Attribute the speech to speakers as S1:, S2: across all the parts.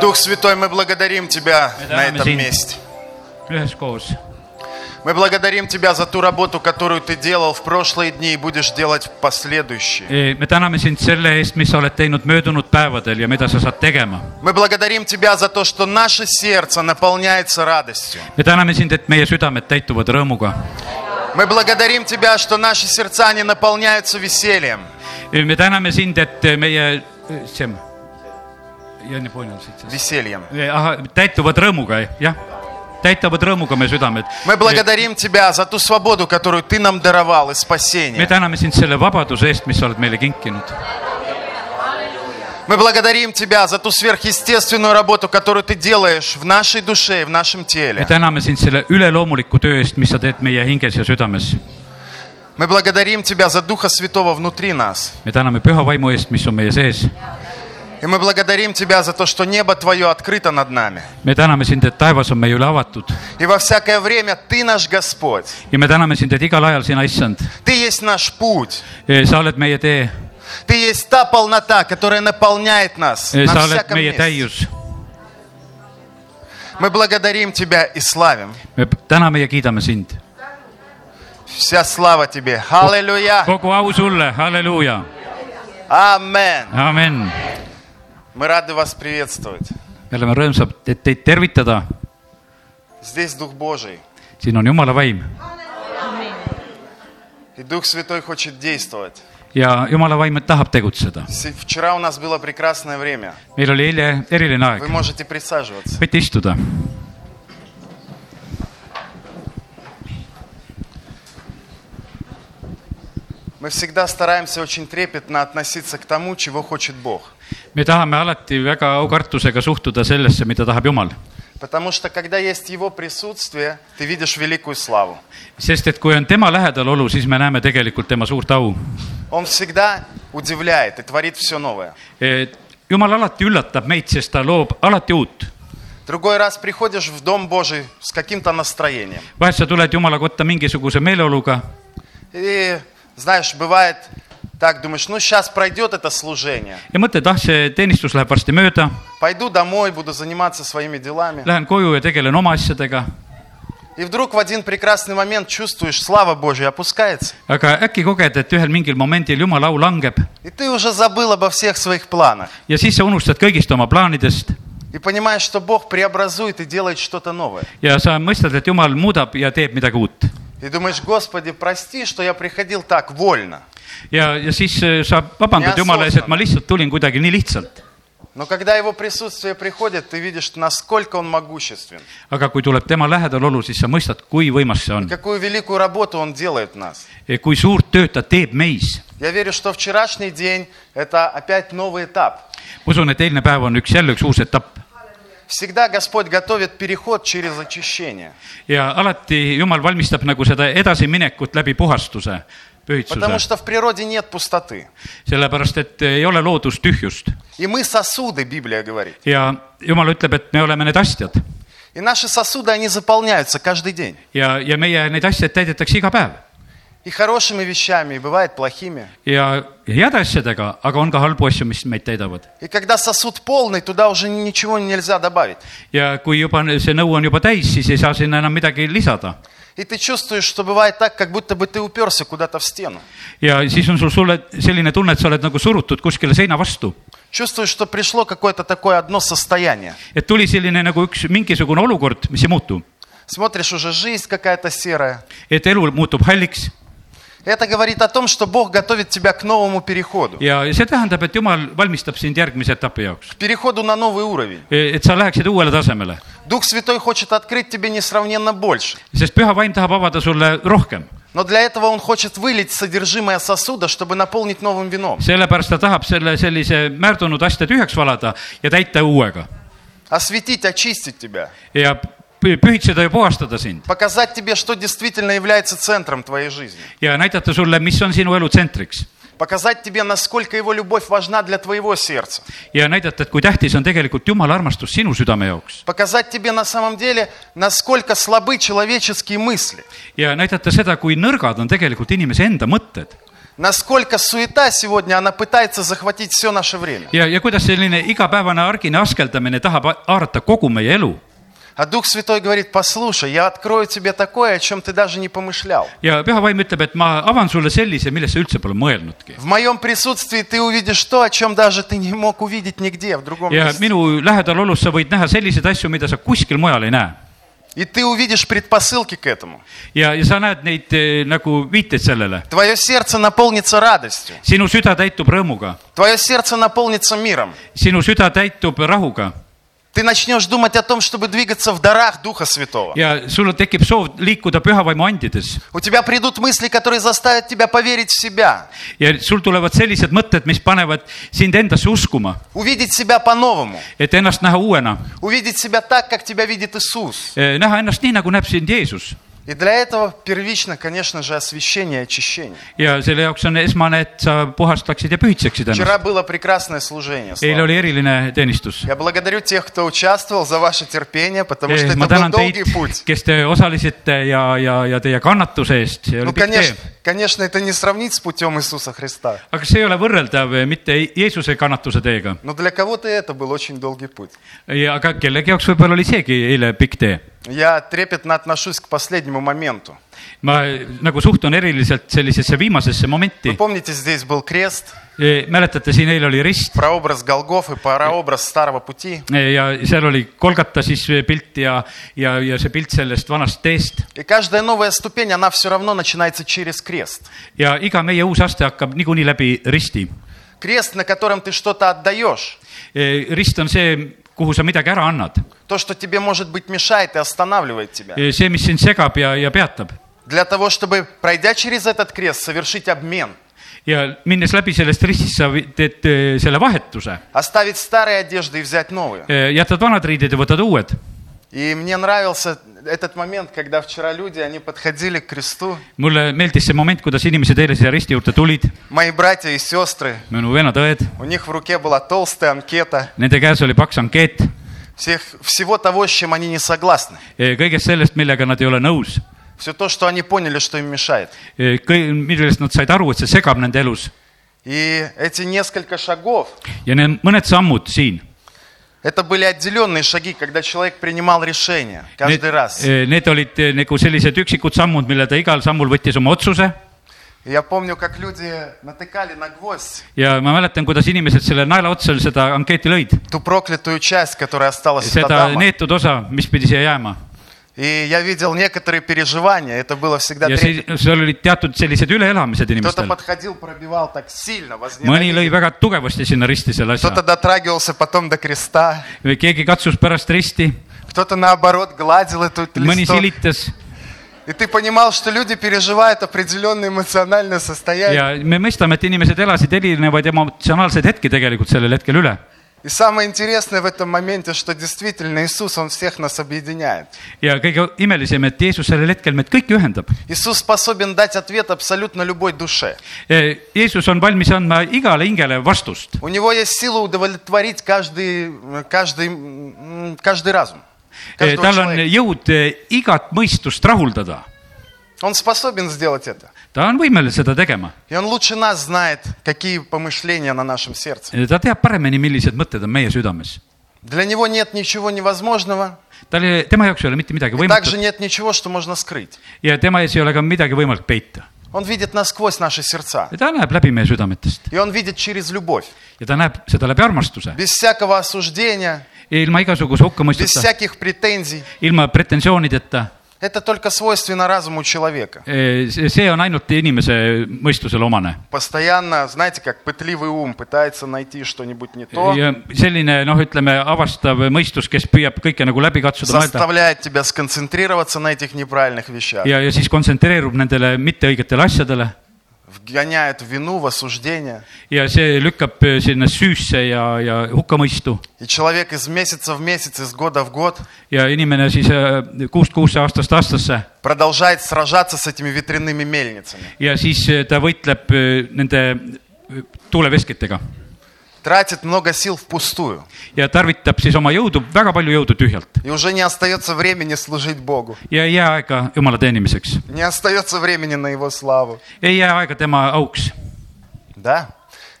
S1: Дух Святой, мы благодарим Тебя
S2: Me
S1: на
S2: täname
S1: этом
S2: sind.
S1: месте.
S2: üheskoos .
S1: Мы благодарим Тебя за ту работу, которую Ты делал в прошлые дни и будешь делать в последующие.
S2: me täname sind selle eest , mis sa oled teinud möödunud päevadel ja mida sa saad tegema .
S1: Мы благодарим Тебя за то, что наше сердце наполняется радостью.
S2: me täname sind , et meie südamed täituvad rõõmuga .
S1: Мы благодарим Тебя, что наши сердца не наполняются весельем.
S2: me täname sind , et meie , ja nii palju on siit .
S1: Весельем.
S2: täituvad rõõmuga , jah , täitavad rõõmuga meie südamed .
S1: Мы благодарим Тебя за ту свободу, которую Ты нам даровал и
S2: me
S1: спасение.
S2: täname sind selle vabaduse eest , mis sa oled meile kinkinud .
S1: Мы благодарим Тебя за ту сверхъестественную работу, которую Ты делаешь в нашей душе и в нашем
S2: me
S1: теле.
S2: täname sind selle üleloomuliku töö eest , mis sa teed meie hinges ja südames .
S1: Мы благодарим Тебя за Духа Святого внутри нас.
S2: me täname püha vaimu eest , mis on meie sees .
S1: И мы благодарим Тебя за то, что небо Твое открыто над нами.
S2: me täname sind , et taevas on meie üle avatud
S1: И во всякое время Ты наш Господь.
S2: ja me täname sind , et igal ajal sina , issand ,
S1: Ты есть наш путь.
S2: sa oled meie tee ,
S1: Ты есть та полнота, которая наполняет нас на
S2: sa oled
S1: всяком
S2: meie
S1: месте.
S2: täius .
S1: Мы благодарим Тебя и славим.
S2: me täname ja kiidame sind .
S1: Вся слава Тебе. Аллилуйя.
S2: kogu au sulle , halleluuja ,
S1: Амен.
S2: amen .
S1: Мы рады вас приветствовать.
S2: me oleme rõõmsad , et teid tervitada .
S1: Здесь Дух Божий.
S2: siin on jumala vaim
S1: И Дух Святой хочет действовать.
S2: ja jumala vaim tahab tegutseda .
S1: Се- Вчера у нас было прекрасное время.
S2: meil oli eile eriline aeg
S1: Вы , можете присаживаться.
S2: võite istuda .
S1: Мы всегда стараемся очень трепетно относиться к тому, чего хочет Бог.
S2: me tahame alati väga aukartusega suhtuda sellesse , mida tahab jumal .
S1: Потому что когда есть Его присутствие, ты видишь великую славу.
S2: sest et kui on tema lähedalolu , siis me näeme tegelikult tema suurt au .
S1: Он всегда удивляет и творит все новое.
S2: jumal alati üllatab meid , sest ta loob alati uut
S1: Другой раз приходишь в Дом Божий с каким-то настроением.
S2: vahest sa tuled jumala kotta mingisuguse meeleoluga
S1: И, знаешь, бывает так, думаешь, ну сейчас пройдет это служение.
S2: ja mõtled , ah see teenistus läheb varsti mööda ,
S1: Пойду домой, буду заниматься своими делами.
S2: lähen koju ja tegelen oma asjadega ,
S1: И вдруг в один прекрасный момент чувствуешь, слава Божья опускается.
S2: aga äkki koged , et ühel mingil momendil jumala au langeb
S1: И ты уже забыл обо всех своих планах.
S2: ja siis sa unustad kõigist oma plaanidest
S1: И понимаешь, что Бог преобразует и делает что-то новое.
S2: ja sa mõistad , et jumal muudab ja teeb midagi uut .
S1: И думаешь, Господи, прости, что я приходил так вольно.
S2: ja , ja siis eh, sa vabandad jumala ees , et ma lihtsalt tulin kuidagi nii lihtsalt .
S1: Но когда Его присутствие приходит, ты видишь, насколько Он могуществен.
S2: aga kui tuleb tema lähedalolu , siis sa mõistad , kui võimas see on ,
S1: Какую великую работу Он делает в нас.
S2: kui suurt tööd ta teeb meis .
S1: Я верю, что вчерашний день – это опять новый этап.
S2: ma usun , et eilne päev on üks jälle üks uus etapp
S1: Всегда Господь готовит переход через очищение.
S2: ja alati Jumal valmistab nagu seda edasiminekut läbi puhastuse ,
S1: Потому
S2: pühitsuse ,
S1: что в природе нет пустоты.
S2: sellepärast et ei ole loodus tühjust
S1: И мы сосуды, Библия говорит.
S2: ja Jumal ütleb , et me oleme need astjad
S1: И наши сосуды, они заполняются каждый день.
S2: ja , ja meie neid asjaid täidetakse iga päev
S1: И хорошими вещами, и бывает плохими.
S2: ja ja heade asjadega , aga on ka halbu asju , mis meid täidavad
S1: И когда сосуд полный, туда уже ничего нельзя добавить.
S2: ja kui juba see nõu on juba täis , siis ei saa sinna enam midagi lisada
S1: И ты чувствуешь, что бывает так, как будто бы ты уперся куда-то в стену.
S2: ja siis on sul sulle selline tunne , et sa oled nagu surutud kuskile seina vastu ,
S1: Чувствуешь, что пришло какое-то такое одно состояние.
S2: et tuli selline nagu üks mingisugune olukord , mis ei muutu ,
S1: Смотришь, уже жизнь какая-то серая.
S2: et elu muutub halliks
S1: Это говорит о том, что Бог готовит тебя к новому переходу.
S2: ja see tähendab , et jumal valmistab sind järgmise etapi jaoks ,
S1: К переходу на новый уровень.
S2: et sa läheksid uuele tasemele ,
S1: Дух Святой хочет открыть тебе несравненно больше.
S2: sest püha vaim tahab avada sulle rohkem ,
S1: Но для этого Он хочет вылить содержимое сосуда, чтобы наполнить новым вином.
S2: sellepärast ta tahab selle sellise määrdunud asja tühjaks valada ja täita uuega
S1: Осветить, очистить тебя.
S2: ja pü- pühitseda ja puhastada sind
S1: Показать тебе, что действительно является центром твоей жизни.
S2: ja näidata sulle , mis on sinu elu tsentriks
S1: Показать тебе, насколько Его любовь важна для твоего сердца.
S2: ja näidata , et kui tähtis on tegelikult Jumala armastus sinu südame jaoks
S1: Показать тебе на самом деле, насколько слабы человеческие мысли.
S2: ja näidata seda , kui nõrgad on tegelikult inimese enda mõtted
S1: насколько суета сегодня, она пытается захватить все наше время.
S2: ja , ja kuidas selline igapäevane argine askeldamine tahab a- haarata kogu meie elu
S1: А Дух Святой говорит, послушай, я открою тебе такое, о чем ты даже не помышлял.
S2: ja püha vaim ütleb , et ma avan sulle sellise , millest sa üldse pole mõelnudki .
S1: В моем присутствии ты увидишь то, о чем даже ты не мог увидеть нигде, в другом
S2: ja
S1: месте.
S2: minu lähedalolus sa võid näha selliseid asju , mida sa kuskil mujal ei näe .
S1: И ты увидишь предпосылки к этому.
S2: ja , ja sa näed neid eh, nagu viiteid sellele .
S1: Твое сердце наполнится радостью.
S2: sinu süda täitub rõõmuga ,
S1: Твое сердце наполнится миром.
S2: sinu süda täitub rahuga
S1: Ты начнешь думать о том, чтобы двигаться в дарах Духа Святого.
S2: ja sul tekib soov liikuda püha vaimu andides
S1: У тебя придут мысли, которые заставят тебя поверить в себя,
S2: ja sul tulevad sellised mõtted , mis panevad sind endasse uskuma ,
S1: увидеть себя по-новому,
S2: et ennast näha uuena ,
S1: увидеть себя так, как тебя видит Иисус.
S2: näha ennast nii , nagu näeb sind Jeesus
S1: И для этого первично, конечно же, освящение и очищение.
S2: ja selle jaoks on esmane , et sa puhastaksid ja pühitseksid ennast .
S1: Вчера было прекрасное служение. Слава.
S2: eile oli eriline teenistus .
S1: Я благодарю тех, кто участвовал, за ваше терпение, потому что это
S2: Eh, ma
S1: был
S2: tänan teid
S1: долгий путь. ,
S2: kes te osalesite ja , ja , ja teie kannatuse eest , see oli
S1: Ну,
S2: pikk tee
S1: конечно, . конечно, это не сравнить с путем Иисуса Христа,
S2: aga see ei ole võrreldav eh, mitte Jeesuse kannatuse teega ,
S1: но для кого-то это был очень долгий путь.
S2: aga kellegi jaoks võib-olla oli seegi eile pikk tee .
S1: Я трепетно отношусь к последнему моменту.
S2: ma nagu suhtun eriliselt sellisesse viimasesse momenti E,
S1: Вы . помните, здесь был крест,
S2: mäletate , siin eile oli rist e,
S1: прообраз Голгоф и прообраз Старого Пути.
S2: ja seal oli kolgata siis pilt ja , ja , ja see pilt sellest vanast teest
S1: И каждая новая ступень, она все равно начинается через крест.
S2: ja iga meie uus aste hakkab niikuinii läbi risti .
S1: Крест, на котором ты что-то отдаешь,
S2: E, rist on see , kuhu sa midagi ära annad ,
S1: то, что тебе, может быть, мешает и останавливает тебя.
S2: see , mis sind segab ja , ja peatab
S1: Для того, чтобы, пройдя через этот крест, совершить обмен,
S2: ja minnes läbi sellest ristist , sa vi- teed eh, selle vahetuse ,
S1: оставить старые одежды и взять новые.
S2: jätad vanad riided ja võtad uued .
S1: И мне нравился этот момент, когда вчера люди, они подходили к кресту,
S2: mulle meeldis see moment , kuidas inimesed eile siia risti juurde tulid ,
S1: мои братья и сестры,
S2: minu vennad-õed ,
S1: у них в руке была толстая анкета
S2: nende käes oli paks ankeet
S1: всех, всего того, с чем они не согласны.
S2: eh, kõigest sellest , millega nad ei ole nõus ,
S1: Все то, что они поняли, что им мешает.
S2: millest nad said aru , et see segab nende elus
S1: И эти несколько шагов,
S2: ja need mõned sammud siin ,
S1: это были отделенные шаги, когда человек принимал решение
S2: need
S1: каждый раз.
S2: eh, need olid eh, nagu sellised üksikud sammud , mille ta igal sammul võttis oma otsuse
S1: И Я помню, как люди натыкали на гвоздь
S2: ja ma mäletan , kuidas inimesed selle naela otsal seda ankeeti lõid ,
S1: ту проклятую часть, которая осталась от
S2: seda
S1: Адама.
S2: neetud osa , mis pidi siia jääma
S1: И я видел некоторые переживания, это было всегда
S2: ja
S1: трепет.
S2: see , seal olid teatud sellised üleelamised
S1: Кто-то
S2: inimestel .
S1: подходил, пробивал так сильно,
S2: mõni lõi
S1: возненавидел.
S2: väga tugevasti sinna risti selle asja
S1: Кто-то , дотрагивался потом до креста,
S2: keegi katsus pärast risti ,
S1: кто-то наоборот гладил эту
S2: mõni
S1: листок.
S2: silitas
S1: И ты понимал, что люди переживают определенное эмоциональное состояние.
S2: ja me mõistame , et inimesed elasid erinevaid emotsionaalseid hetki tegelikult sellel hetkel üle .
S1: И самое интересное в этом моменте, что действительно Иисус, Он всех нас объединяет.
S2: ja kõige imelisem , et Jeesus sellel hetkel meid kõiki ühendab .
S1: Иисус способен дать ответ абсолютно любой душе.
S2: E, Jeesus on valmis andma igale hingele vastust .
S1: У Него есть сила удовлетворить каждый, э, каждый, м, каждый разум.
S2: Э,
S1: каждого
S2: E, tal on
S1: человека.
S2: jõud eh, igat mõistust rahuldada .
S1: Он способен сделать это.
S2: ta on võimeline seda tegema .
S1: И Он лучше нас знает, какие помышления на нашем сердце.
S2: E, ta teab paremini , millised mõtted on meie südames .
S1: Для Него нет ничего невозможного,
S2: tal , tema jaoks ei ole mitte midagi
S1: также
S2: võimatut
S1: нет ничего, что можно скрыть.
S2: ja tema ees ei ole ka midagi võimalik peita .
S1: Он видит насквозь наши сердца.
S2: ta näeb läbi meie südametest
S1: И Он видит через любовь.
S2: ja ta näeb seda läbi armastuse ,
S1: Без всякого осуждения,
S2: ilma igasuguse
S1: без
S2: hukkamõistuta ,
S1: всяких претензий.
S2: ilma pretensioonideta .
S1: Это только свойственно разуму человека.
S2: see on ainult inimese mõistusele omane
S1: Постоянно, знаете, как пытливый ум пытается найти что-нибудь не то,
S2: ja selline noh , ütleme avastav mõistus , kes püüab kõike nagu läbi katsuda , mõelda
S1: заставляет тебя сконцентрироваться на этих неправильных вещах,
S2: ja , ja siis kontsentreerub nendele mitteõigetele asjadele
S1: вгоняет в вину, в осуждение.
S2: ja see lükkab sinna süüsse ja , ja hukkamõistu
S1: И человек из месяца в месяц, из года в год
S2: ja inimene siis äh, kuust kuusse , aastast aastasse
S1: продолжает сражаться с этими ветряными мельницами.
S2: ja siis äh, ta võitleb äh, nende äh, tuuleveskitega .
S1: тратит много сил впустую.
S2: ja tarvitab siis oma jõudu , väga palju jõudu tühjalt
S1: И уже не остается времени служить Богу.
S2: ja ei jää aega jumala teenimiseks ,
S1: Не остается времени на Его славу.
S2: ei jää aega tema auks .
S1: Да.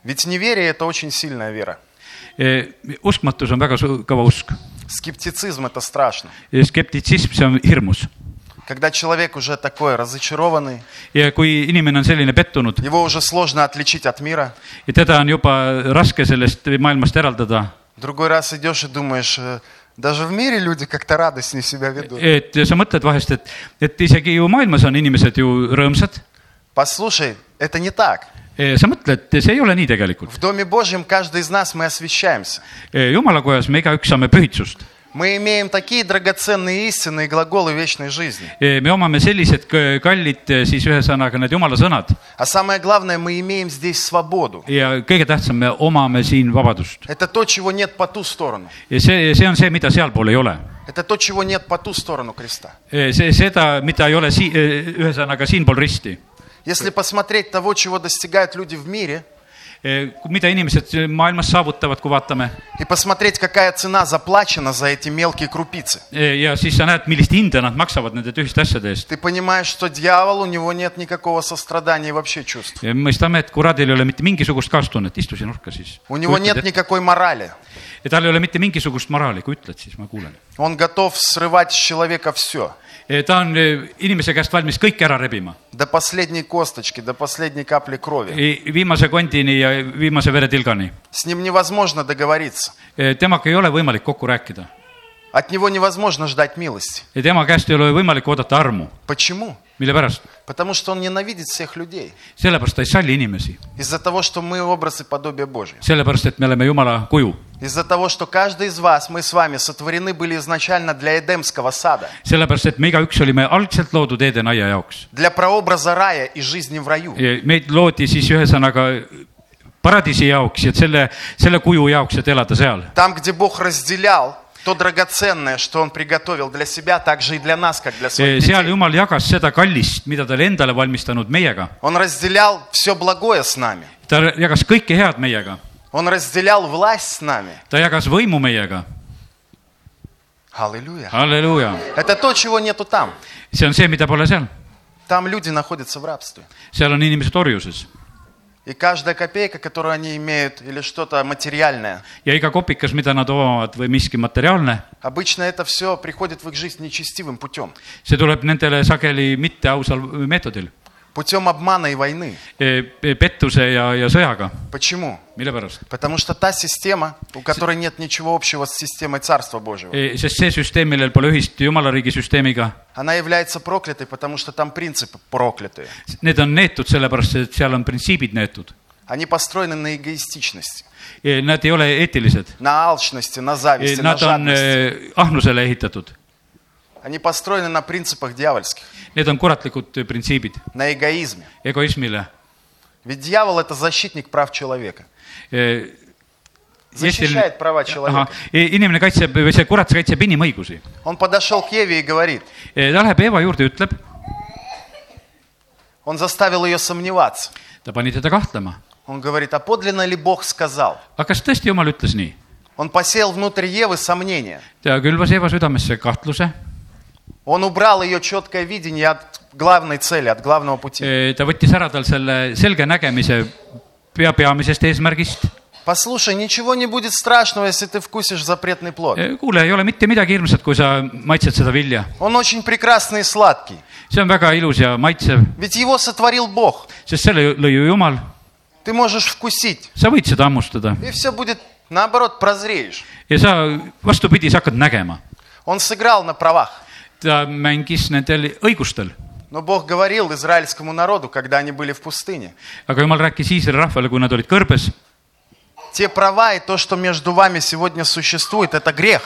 S1: Ведь неверие – это очень сильная вера.
S2: E, uskmatus on väga su- kõva usk ,
S1: Скептицизм – это страшно.
S2: skeptitsism , see on hirmus
S1: Когда человек уже такой разочарованный,
S2: ja kui inimene on selline pettunud
S1: его уже сложно отличить от мира.
S2: ja teda on juba raske sellest maailmast eraldada ,
S1: Другой раз идешь и думаешь, э, даже в мире люди как-то радостнее себя ведут.
S2: et sa mõtled vahest , et , et isegi ju maailmas on inimesed ju rõõmsad ,
S1: Послушай, это не так.
S2: sa mõtled , see ei ole nii tegelikult .
S1: В Доме Божьем каждый из нас мы освещаемся.
S2: jumalakojas me igaüks saame pühitsust ,
S1: Мы имеем такие драгоценные истины и глаголы вечной жизни.
S2: E, me omame sellised k- kallid , siis ühesõnaga need jumala sõnad
S1: А самое главное, мы имеем здесь свободу.
S2: ja kõige tähtsam , me omame siin vabadust
S1: Это то, чего нет по ту сторону.
S2: ja see , see on see , mida sealpool ei ole E,
S1: Это то, чего нет по ту сторону креста.
S2: see , seda , mida ei ole si- , ühesõnaga siinpool risti .
S1: Если посмотреть того, чего достигают люди в мире,
S2: Eh, mida inimesed maailmas saavutavad , kui vaatame
S1: и посмотреть, какая цена заплачена за эти мелкие крупицы,
S2: Eh, ja siis sa näed , millist hinda nad maksavad nende tühiste asjade eest .
S1: ты понимаешь, что дьявол, у него нет никакого сострадания и вообще чувств.
S2: mõistame , et kuradil ei ole mitte mingisugust kaastunnet , istu siia nurka siis .
S1: У него нет никакой морали.
S2: ja tal ei ole mitte mingisugust moraali , kui ütled , siis ma kuulen .
S1: Он готов срывать с человека все.
S2: ta on eh, inimese käest valmis kõik ära rebima ,
S1: До последней косточки, до последней капли крови.
S2: Eh, viimase kondini ja viimase veretilgani .
S1: С nим невозможно договориться.
S2: temaga ei ole võimalik kokku rääkida
S1: От него невозможно ждать милости.
S2: ja tema käest ei ole võimalik oodata armu .
S1: Почему?
S2: mille pärast ?
S1: Потому что он ненавидит всех людей.
S2: sellepärast ta ei salli inimesi ,
S1: Из-за того, что мы образ и подобие Божье.
S2: sellepärast et me oleme Jumala kuju
S1: Из-за того, что каждый из вас, мы с вами, сотворены были изначально для Эдемского сада.
S2: sellepärast , et me igaüks olime algselt loodud Edenaia jaoks .
S1: Для прообраза рая и жизни в раю.
S2: meid loodi siis ühesõnaga paradiisi jaoks , et selle , selle kuju jaoks , et elada seal .
S1: Там, где Бог разделял то драгоценное, что Он приготовил для себя, так же и для нас, как для своих
S2: seal
S1: детей.
S2: Jumal jagas seda kallist , mida ta oli endale valmistanud meiega .
S1: Он разделял все благое с нами.
S2: ta jagas kõike head meiega ,
S1: Он разделял власть с нами.
S2: ta jagas võimu meiega ,
S1: Аллилуйя.
S2: halleluuja .
S1: Это то, чего нету там.
S2: see on see , mida pole seal ,
S1: Там люди naходятся в рабстве.
S2: seal on inimesed orjuses
S1: И каждая копейка, которую они имеют, или что-то материальное,
S2: ja iga kopikas , mida nad omavad või miski materiaalne ,
S1: обычно это все приходит в их жизнь нечестивым путем.
S2: see tuleb nendele sageli mitteausal meetodil ,
S1: Путем обмана и войны.
S2: pettuse ja , ja sõjaga .
S1: Почему?
S2: mille pärast ?
S1: Потому что та система, у которой нет ничего общего с системой Царства Божьего,
S2: E, sest see süsteem , millel pole ühist Jumala riigi süsteemiga ,
S1: она является проклятой, потому что там принципы проклятые.
S2: need on neetud sellepärast , et seal on printsiibid neetud .
S1: Они построены на эгоистичности,
S2: Nad ei ole eetilised ,
S1: на алчности, на зависти, на
S2: nad on
S1: жадности.
S2: eh, ahnusele ehitatud ,
S1: Они построены на принципах дьявольских,
S2: need on kuratlikud e, printsiibid
S1: на эгоизме.
S2: egoismile .
S1: Ведь дьявол – это защитник прав человека.
S2: E,
S1: Защищает права человека.
S2: E, inimene kaitseb või see kurat kaitseb inimõigusi .
S1: Он подошел к Еве и говорит,
S2: ta läheb Eeva juurde , ütleb ,
S1: он заставил ее сомневаться.
S2: ta pani teda kahtlema ,
S1: Он говорит, а подлинно ли Бог сказал?
S2: aga kas tõesti Jumal ütles nii ?
S1: Он посеял внуtrь Евы сомнения.
S2: ta külvas Eeva südamesse kahtluse ,
S1: Он убрал ее четкое видение от главной цели, от главного пути.
S2: E, ta võttis ära tal selle selge nägemise pea peamisest eesmärgist
S1: Послушай, ничего не будет страшного, если ты вкусишь запретный плод.
S2: E, kuule , ei ole mitte midagi hirmsat , kui sa maitsed seda vilja .
S1: Он очень прекрасный и сладкий.
S2: see on väga ilus ja maitsev ,
S1: Ведь его сотворил Бог.
S2: sest selle lõi ju jumal .
S1: Ты можешь вкусить,
S2: sa võid seda hammustada
S1: и все будет, наоборот, прозреешь.
S2: ja sa , vastupidi , sa hakkad nägema .
S1: Он сыграл на правах.
S2: ta mängis nendel õigustel ,
S1: Но Бог говорил израильскому народу, когда они были в пустыне.
S2: aga jumal rääkis Iisraeli rahvale , kui nad olid kõrbes ,
S1: Те права и то, что между вами сегодня существует, это грех.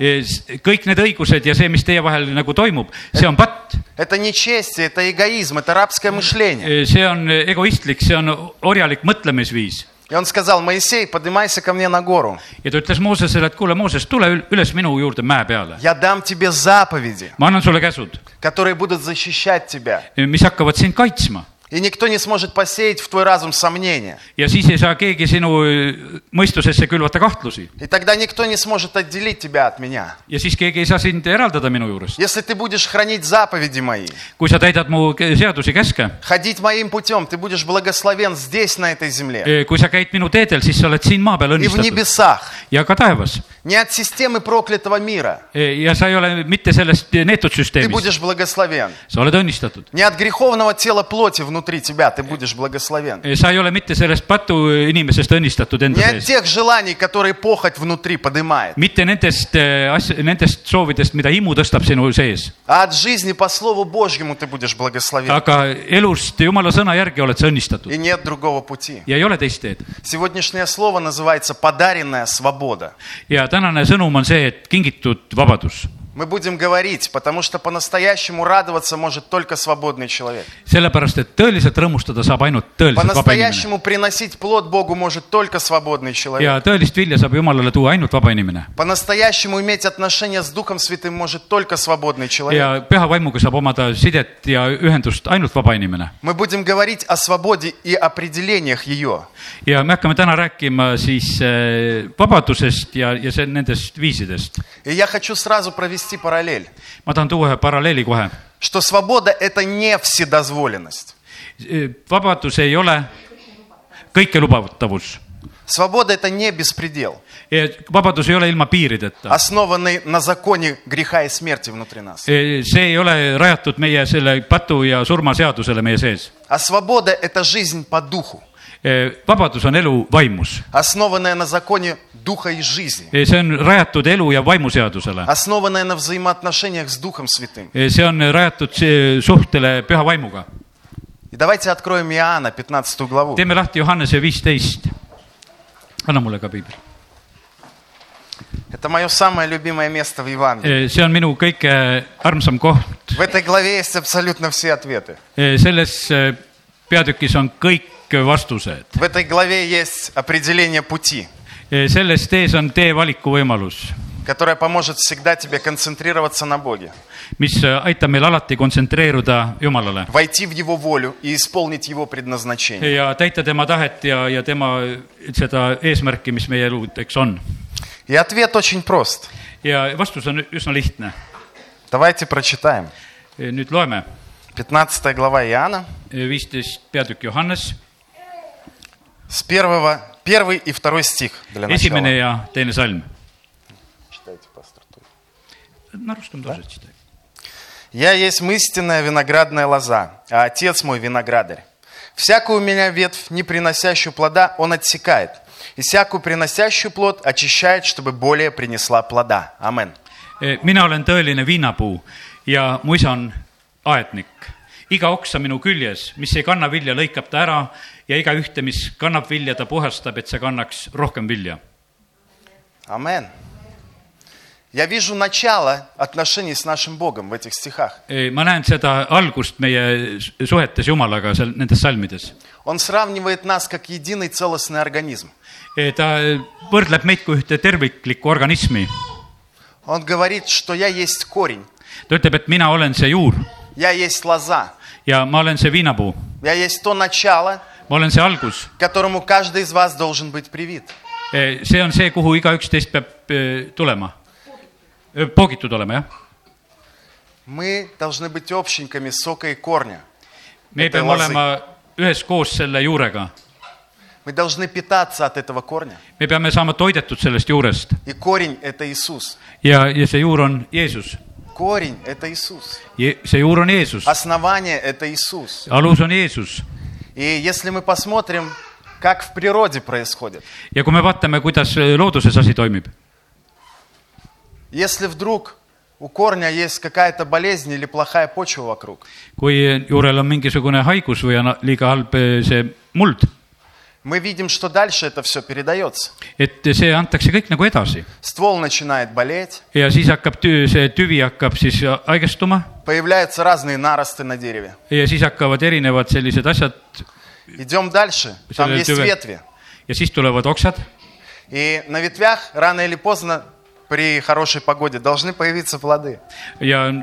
S2: kõik need õigused ja see , mis teie vahel nagu toimub , see on patt ,
S1: Это нечестие, это эгоизм, это рабское мышление.
S2: see on egoistlik , see on orjalik mõtlemisviis .
S1: И он сказал, Моисей, поднимайся ко мне на гору.
S2: ja ta ütles Moosesele , et kuule , Mooses , tule ül- üles minu juurde mäe peale ,
S1: Я дам тебе заповеди,
S2: ma annan sulle käsud ,
S1: которые будут защищать тебя,
S2: mis hakkavad sind kaitsma
S1: И никто не сможет посеять в твой разум сомнения.
S2: ja siis ei saa keegi sinu mõistusesse külvata kahtlusi
S1: И тогда никто не сможет отделить тебя от меня.
S2: ja siis keegi ei saa sind eraldada minu juurest .
S1: Если ты будешь хранить заповеди мои,
S2: kui sa täidad mu ke- seadusi käske ,
S1: ходить моим путем, ты будешь благословен здесь, на этой земле,
S2: e, kui sa käid minu teedel , siis sa oled siin maa peal
S1: и в
S2: õnnistatud
S1: небесах.
S2: ja ka taevas .
S1: Не от системы проклятого мира
S2: ja sa ei ole mitte sellest neetud
S1: ты
S2: süsteemist ,
S1: будешь благословен.
S2: sa oled õnnistatud .
S1: Не от греховного тела плоти внутри тебя ты будешь благословен.
S2: E, sa ei ole mitte sellest patu inimesest õnnistatud enda
S1: Не от
S2: sees ,
S1: тех желаний, которые похоть внутри поднимает,
S2: mitte nendest e, asja , nendest soovidest , mida himu tõstab sinu sees ,
S1: а от жизни по Слову Божьему ты будешь благословен.
S2: aga elust jumala sõna järgi oled sa õnnistatud
S1: И нет другого пути.
S2: ja ei ole teist teed .
S1: Сегодняшнее слово называется «подаренная свобода».
S2: ja tänane sõnum on see , et kingitud vabadus .
S1: Мы будем говорить, потому что по-настоящему радоваться может только свободный человек.
S2: sellepärast , et tõeliselt rõõmustada saab ainult tõeliselt vaba inimene
S1: По-настоящему приносить плод Богу может только свободный человек.
S2: ja tõelist vilja saab jumalale tuua ainult vaba inimene
S1: По-настоящему иметь отношения с Духом Святым может только свободный человек.
S2: ja püha vaimuga saab omada sidet ja ühendust ainult vaba inimene .
S1: Мы будем говорить о свободе и определениях ее.
S2: ja me hakkame täna rääkima siis eh, vabadusest ja , ja see nendest viisidest .
S1: И я хочу сразу провести параллель,
S2: ma tahan tuua ühe paralleeli kohe .
S1: что свобода – это не вседозволенность.
S2: Eh, vabadus ei ole kõikelubatavus .
S1: Свобода – это не беспредел,
S2: Eh, vabadus ei ole ilma piirideta .
S1: основанный на законе греха и смерти внутри нас.
S2: Eh, see ei ole rajatud meie selle patu ja surmaseadusele meie sees .
S1: А свобода – это жизнь по духу,
S2: vabadus on elu vaimus ,
S1: основанная на законе духа и жизни,
S2: see on rajatud elu ja vaimuseadusele .
S1: основанная на взаимоотношениях с Духом Святым.
S2: see on rajatud eh, suhtele püha vaimuga .
S1: И давайте откроем Иоанна, 15 главу.
S2: teeme lahti Johannese viisteist . anna mulle ka piibel .
S1: Это мое самое любимое место в Евангелии.
S2: E, see on minu kõige armsam koht .
S1: В этой главе есть абсолютно все ответы.
S2: selles eh, peatükis on kõik vastused .
S1: В этой главе есть определение пути,
S2: selles tees on tee valikuvõimalus ,
S1: которое поможет всегда тебе концентрироваться на Боге,
S2: mis aitab meil alati kontsentreeruda Jumalale
S1: войти в Его волю и исполнить Его предназначение.
S2: ja täita tema tahet ja , ja tema seda eesmärki , mis meie eludeks on .
S1: И ответ очень прост.
S2: ja vastus on üsna lihtne .
S1: Давайте прочитаем.
S2: nüüd loeme E,
S1: 15 глава Иоанна,
S2: viisteist peatükk Johannes ,
S1: с первого, первый и второй стих для начала.
S2: esimene ja teine salm .
S1: Читайте, пастор.
S2: narustame .
S1: Я есть истинная виноградная лоза, а отец мой виноградарь. Всякую у меня ветвь, не приносящую плода, он отсекает. И всякую приносящую плод очищает, чтобы более принесла плода. Амен.
S2: Eh, mina olen tõeline viinapuu ja mu isa on aednik . iga oks on minu küljes , mis ei kanna vilja , lõikab ta ära ja igaühte , mis kannab vilja , ta puhastab , et see kannaks rohkem vilja .
S1: Амен. Я вижу начало отношений с нашим Богом в этих стихах.
S2: Eh, ma näen seda algust meie suhetes Jumalaga seal nendes salmides .
S1: Он сравнивает нас как единый целостный организм.
S2: Eh, ta võrdleb meid kui ühte terviklikku organismi .
S1: Он говорит, что я есть корень,
S2: ta ütleb , et mina olen see juur
S1: я есть лоза,
S2: ja ma olen see viinapuu ,
S1: я есть то начало,
S2: ma olen see algus .
S1: к которому каждый из вас должен быть привит.
S2: see on see , kuhu igaüks teist peab eh, tulema , poogitud olema , jah
S1: Мы должны быть общниками сока и корня.
S2: me
S1: Võtame
S2: peame
S1: lasi.
S2: olema üheskoos selle juurega ,
S1: Мы должны питаться от этого корня.
S2: me peame saama toidetud sellest juurest
S1: И корень – это Иисус.
S2: ja , ja see juur on Jeesus ,
S1: Корень – это Иисус.
S2: see juur on Jeesus ,
S1: Основание – это Иисус.
S2: alus on Jeesus
S1: И если мы посмотрим, как в природе происходит,
S2: ja kui me vaatame , kuidas äh, looduses asi toimib ,
S1: если вдруг у корня есть какая-то болезнь или плохая почва вокруг,
S2: kui äh, juurel on mingisugune haigus või on liiga halb eh, see muld ,
S1: мы видим, что дальше это все передается.
S2: et see antakse kõik nagu edasi
S1: Ствол начинает болеть,
S2: ja siis hakkab tüü, see tüvi hakkab siis haigestuma
S1: появляются разные наросты на дереве.
S2: ja siis hakkavad erinevad sellised asjad
S1: Идем дальше, там
S2: Представляете,
S1: есть
S2: вы-
S1: ветви.
S2: ja siis tulevad oksad
S1: И на ветвях рано или поздно при хорошей погоде должны появиться плоды.
S2: ja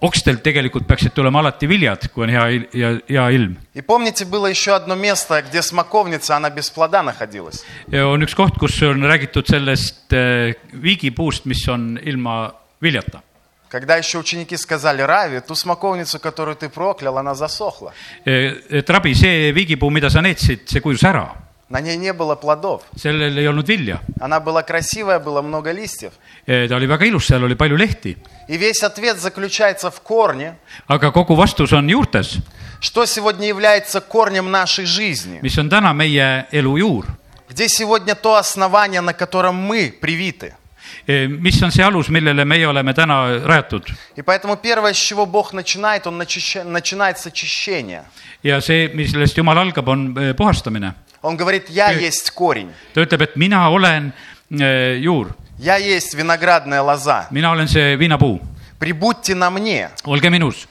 S2: okstelt tegelikult peaksid tulema alati viljad , kui on hea , hea , hea ilm .
S1: И помните, было еще одно место, где смоковница, она без плода находилась.
S2: ja on üks koht , kus on räägitud sellest eh, viigipuust , mis on ilma viljata .
S1: Когда еще ученики сказали Рави, ту смоковницу, которую ты проклял, она засохла.
S2: Eh, et rabi , see viigipuu , mida sa neetsid , see kujus ära ,
S1: На ней не было плодов.
S2: sellel ei olnud vilja .
S1: Она была красивая, было много листьев.
S2: ta oli väga ilus , seal oli palju lehti ,
S1: И весь ответ заключается в корне,
S2: aga kogu vastus on juurtes ,
S1: что сегодня является корнем нашей жизни,
S2: mis on täna meie elu juur .
S1: где сегодня то основание, на котором мы привиты.
S2: Eh, mis on see alus , millele meie oleme täna rajatud
S1: И поэтому первое, с чего Бог начинает, Он начища- начинает с очищения.
S2: ja see , millest Jumal algab , on eh, puhastamine .
S1: Он говорит, я
S2: Э.
S1: есть korень,
S2: ta ütleb , et mina olen eh, juur ,
S1: я есть виноградная лоза,
S2: mina olen see viinapuu ,
S1: прибудьте на мне.
S2: olge minus .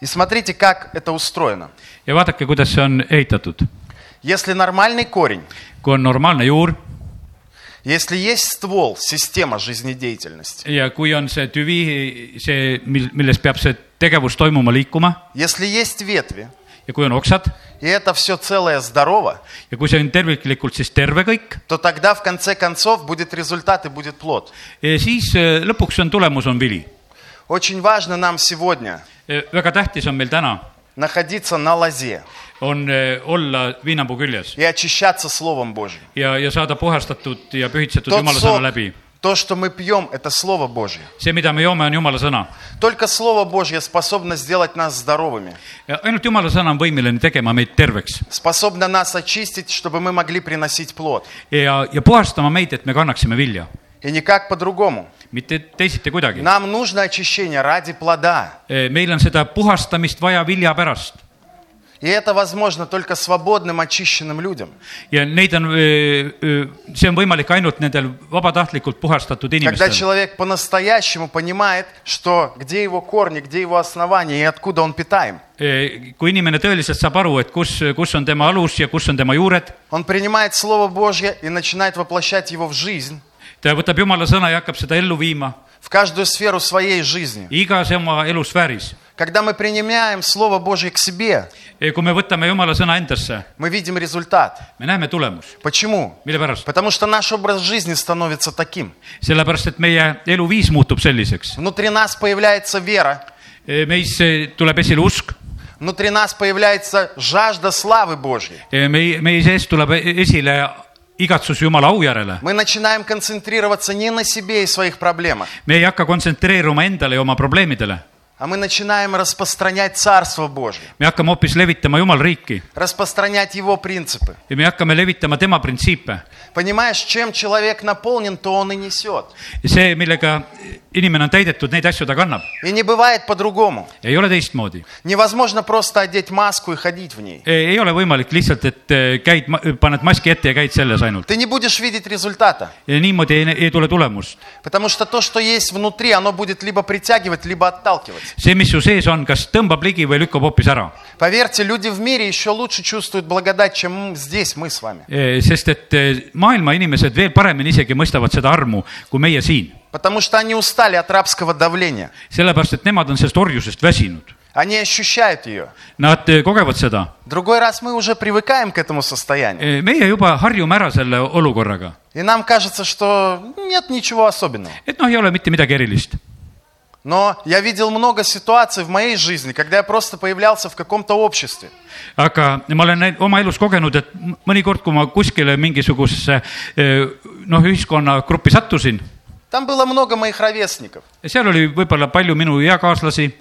S1: И смотрите, как это устроено.
S2: ja vaadake , kuidas see on ehitatud .
S1: Если нормальный корень,
S2: kui on normaalne juur
S1: если есть ствол, система жизнедеятельности,
S2: ja kui on see tüvi , see , mil- , milles peab see tegevus toimuma , liikuma
S1: если есть ветви,
S2: ja kui on oksad
S1: и это все целое здорово,
S2: ja kui see on terviklikult siis terve kõik ,
S1: то тогда в конце концов будет результат и будет плод.
S2: siis eh, lõpuks on tulemus , on vili .
S1: Очень важно нам сегодня
S2: väga tähtis on meil täna ,
S1: находиться на лозе
S2: on eh, olla viinapuu küljes
S1: и очищаться Словом Божьим.
S2: ja , ja saada puhastatud ja pühitsetud
S1: Тот
S2: Jumala
S1: сок,
S2: sõna läbi .
S1: то, что мы пьем, это Слово Божье.
S2: see , mida me joome , on Jumala sõna .
S1: Только Слово Божье способно сделать нас здоровыми,
S2: ainult Jumala sõna on võimeline tegema meid terveks
S1: способно нас очистить, чтобы мы могли приносить плод.
S2: ja , ja puhastama meid , et me kannaksime vilja ,
S1: И никак по-другому.
S2: mitte teisiti kuidagi .
S1: Нам нужно очищение ради плода.
S2: meil on seda puhastamist vaja vilja pärast
S1: И это возможно только свободным, очищенным людям.
S2: ja neid on , see on võimalik ainult nendel vabatahtlikult puhastatud
S1: Когда
S2: inimestel .
S1: человек по-настоящему понимает, что где его корни, где его основание и откуда он питаем.
S2: Eh, kui inimene tõeliselt saab aru , et kus , kus on tema alus ja kus on tema juured ,
S1: Он принимает Слово Божье и начинает воплощать его в жизнь,
S2: ta võtab jumala sõna ja hakkab seda ellu viima
S1: в каждую сферу своей жизни.
S2: igas oma elusfääris .
S1: Когда мы принимаем Слово Божье к себе,
S2: kui me võtame jumala sõna endasse ,
S1: мы видим результат.
S2: me näeme tulemus ,
S1: Почему?
S2: mille pärast ,
S1: Потому что наш образ жизни становится таким.
S2: sellepärast et meie eluviis muutub selliseks ,
S1: Внутри нас появляется вера,
S2: meis tuleb esile usk ,
S1: внутри нас появляется жажда славы Божьей.
S2: meie , meie sees tuleb e-, esile igatsus jumala au järele .
S1: Мы начинаем концентрироваться не на себе и своих проблемах,
S2: me ei hakka kontsentreeruma endale ja oma probleemidele ,
S1: а мы начинаем распространять Царство Божье,
S2: me hakkame hoopis levitama jumala riiki
S1: распространять Его принципы.
S2: ja me hakkame levitama tema printsiipe .
S1: Понимаешь, чем человек naполнен, то он и несет.
S2: see , millega inimene on täidetud , neid asju ta kannab ,
S1: И не бывает по-другому.
S2: ei ole teistmoodi .
S1: Невозможно просто одеть маску и ходить в ней.
S2: ei ole võimalik lihtsalt , et eh, käid , paned maski ette ja käid selles ainult .
S1: Ты не будешь видеть результата,
S2: ja niimoodi ei, ei tule tulemust .
S1: потому что то, что есть внутри, оно будет либо притягивать, либо отталкивать.
S2: see , mis su sees on , kas tõmbab ligi või lükkab hoopis ära .
S1: Поверьте, люди в мире еще лучше чувствуют благодать, чем здесь мы с вами.
S2: sest et eh, maailma inimesed veel paremini isegi mõistavad seda armu kui meie siin ,
S1: Потому что они устали от рабского давления.
S2: sellepärast et nemad on sellest orjusest väsinud .
S1: Они ощущают ее.
S2: Nad eh, kogevad seda ,
S1: Другой раз мы уже привыкаем к этому состоянию.
S2: meie juba harjume ära selle olukorraga ,
S1: И нам кажется, что нет ничего особенного.
S2: et noh , ei ole mitte midagi erilist
S1: Но я видел много ситуаций в моей жизни, когда я просто poявлялся в каком-то обществе.
S2: aga ma olen näin- oma elus kogenud , et m- mõnikord , kui ma kuskile mingisugusesse eh, noh , ühiskonnagruppi sattusin ,
S1: Там было много моих ровесников.
S2: seal oli võib-olla palju minu eakaaslasi ,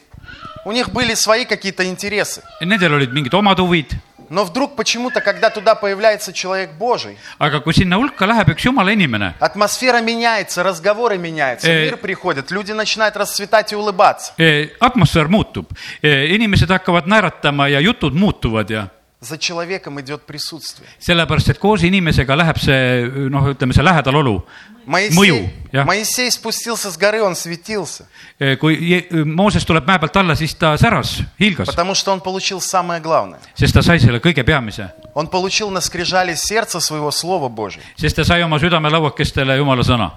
S1: У них были свои какие-то интересы.
S2: nendel olid mingid omad huvid ,
S1: Но вдруг почему-то, когда туда появляется человек Божий,
S2: aga kui sinna hulka läheb üks jumala inimene ,
S1: атмосфера меняется, разговоры меняются,
S2: Э.
S1: мир приходит, люди начинают расцветать и улыбаться.
S2: eh, atmosfäär muutub , inimesed hakkavad naeratama ja jutud muutuvad ja
S1: За человеком идет присутствие.
S2: sellepärast , et koos inimesega läheb see noh , ütleme see lähedalolu , mõju
S1: Моисей,
S2: jah ,
S1: Моисей спустился с горы, он светился,
S2: Eh, kui Je- Mooses tuleb mäe pealt alla , siis ta säras , hiilgas ,
S1: потому что он получил самое главное.
S2: sest ta sai selle kõige peamise
S1: Он получил на скрижале сердца своего Слова Божьего.
S2: sest ta sai oma südamelauakestele jumala sõna .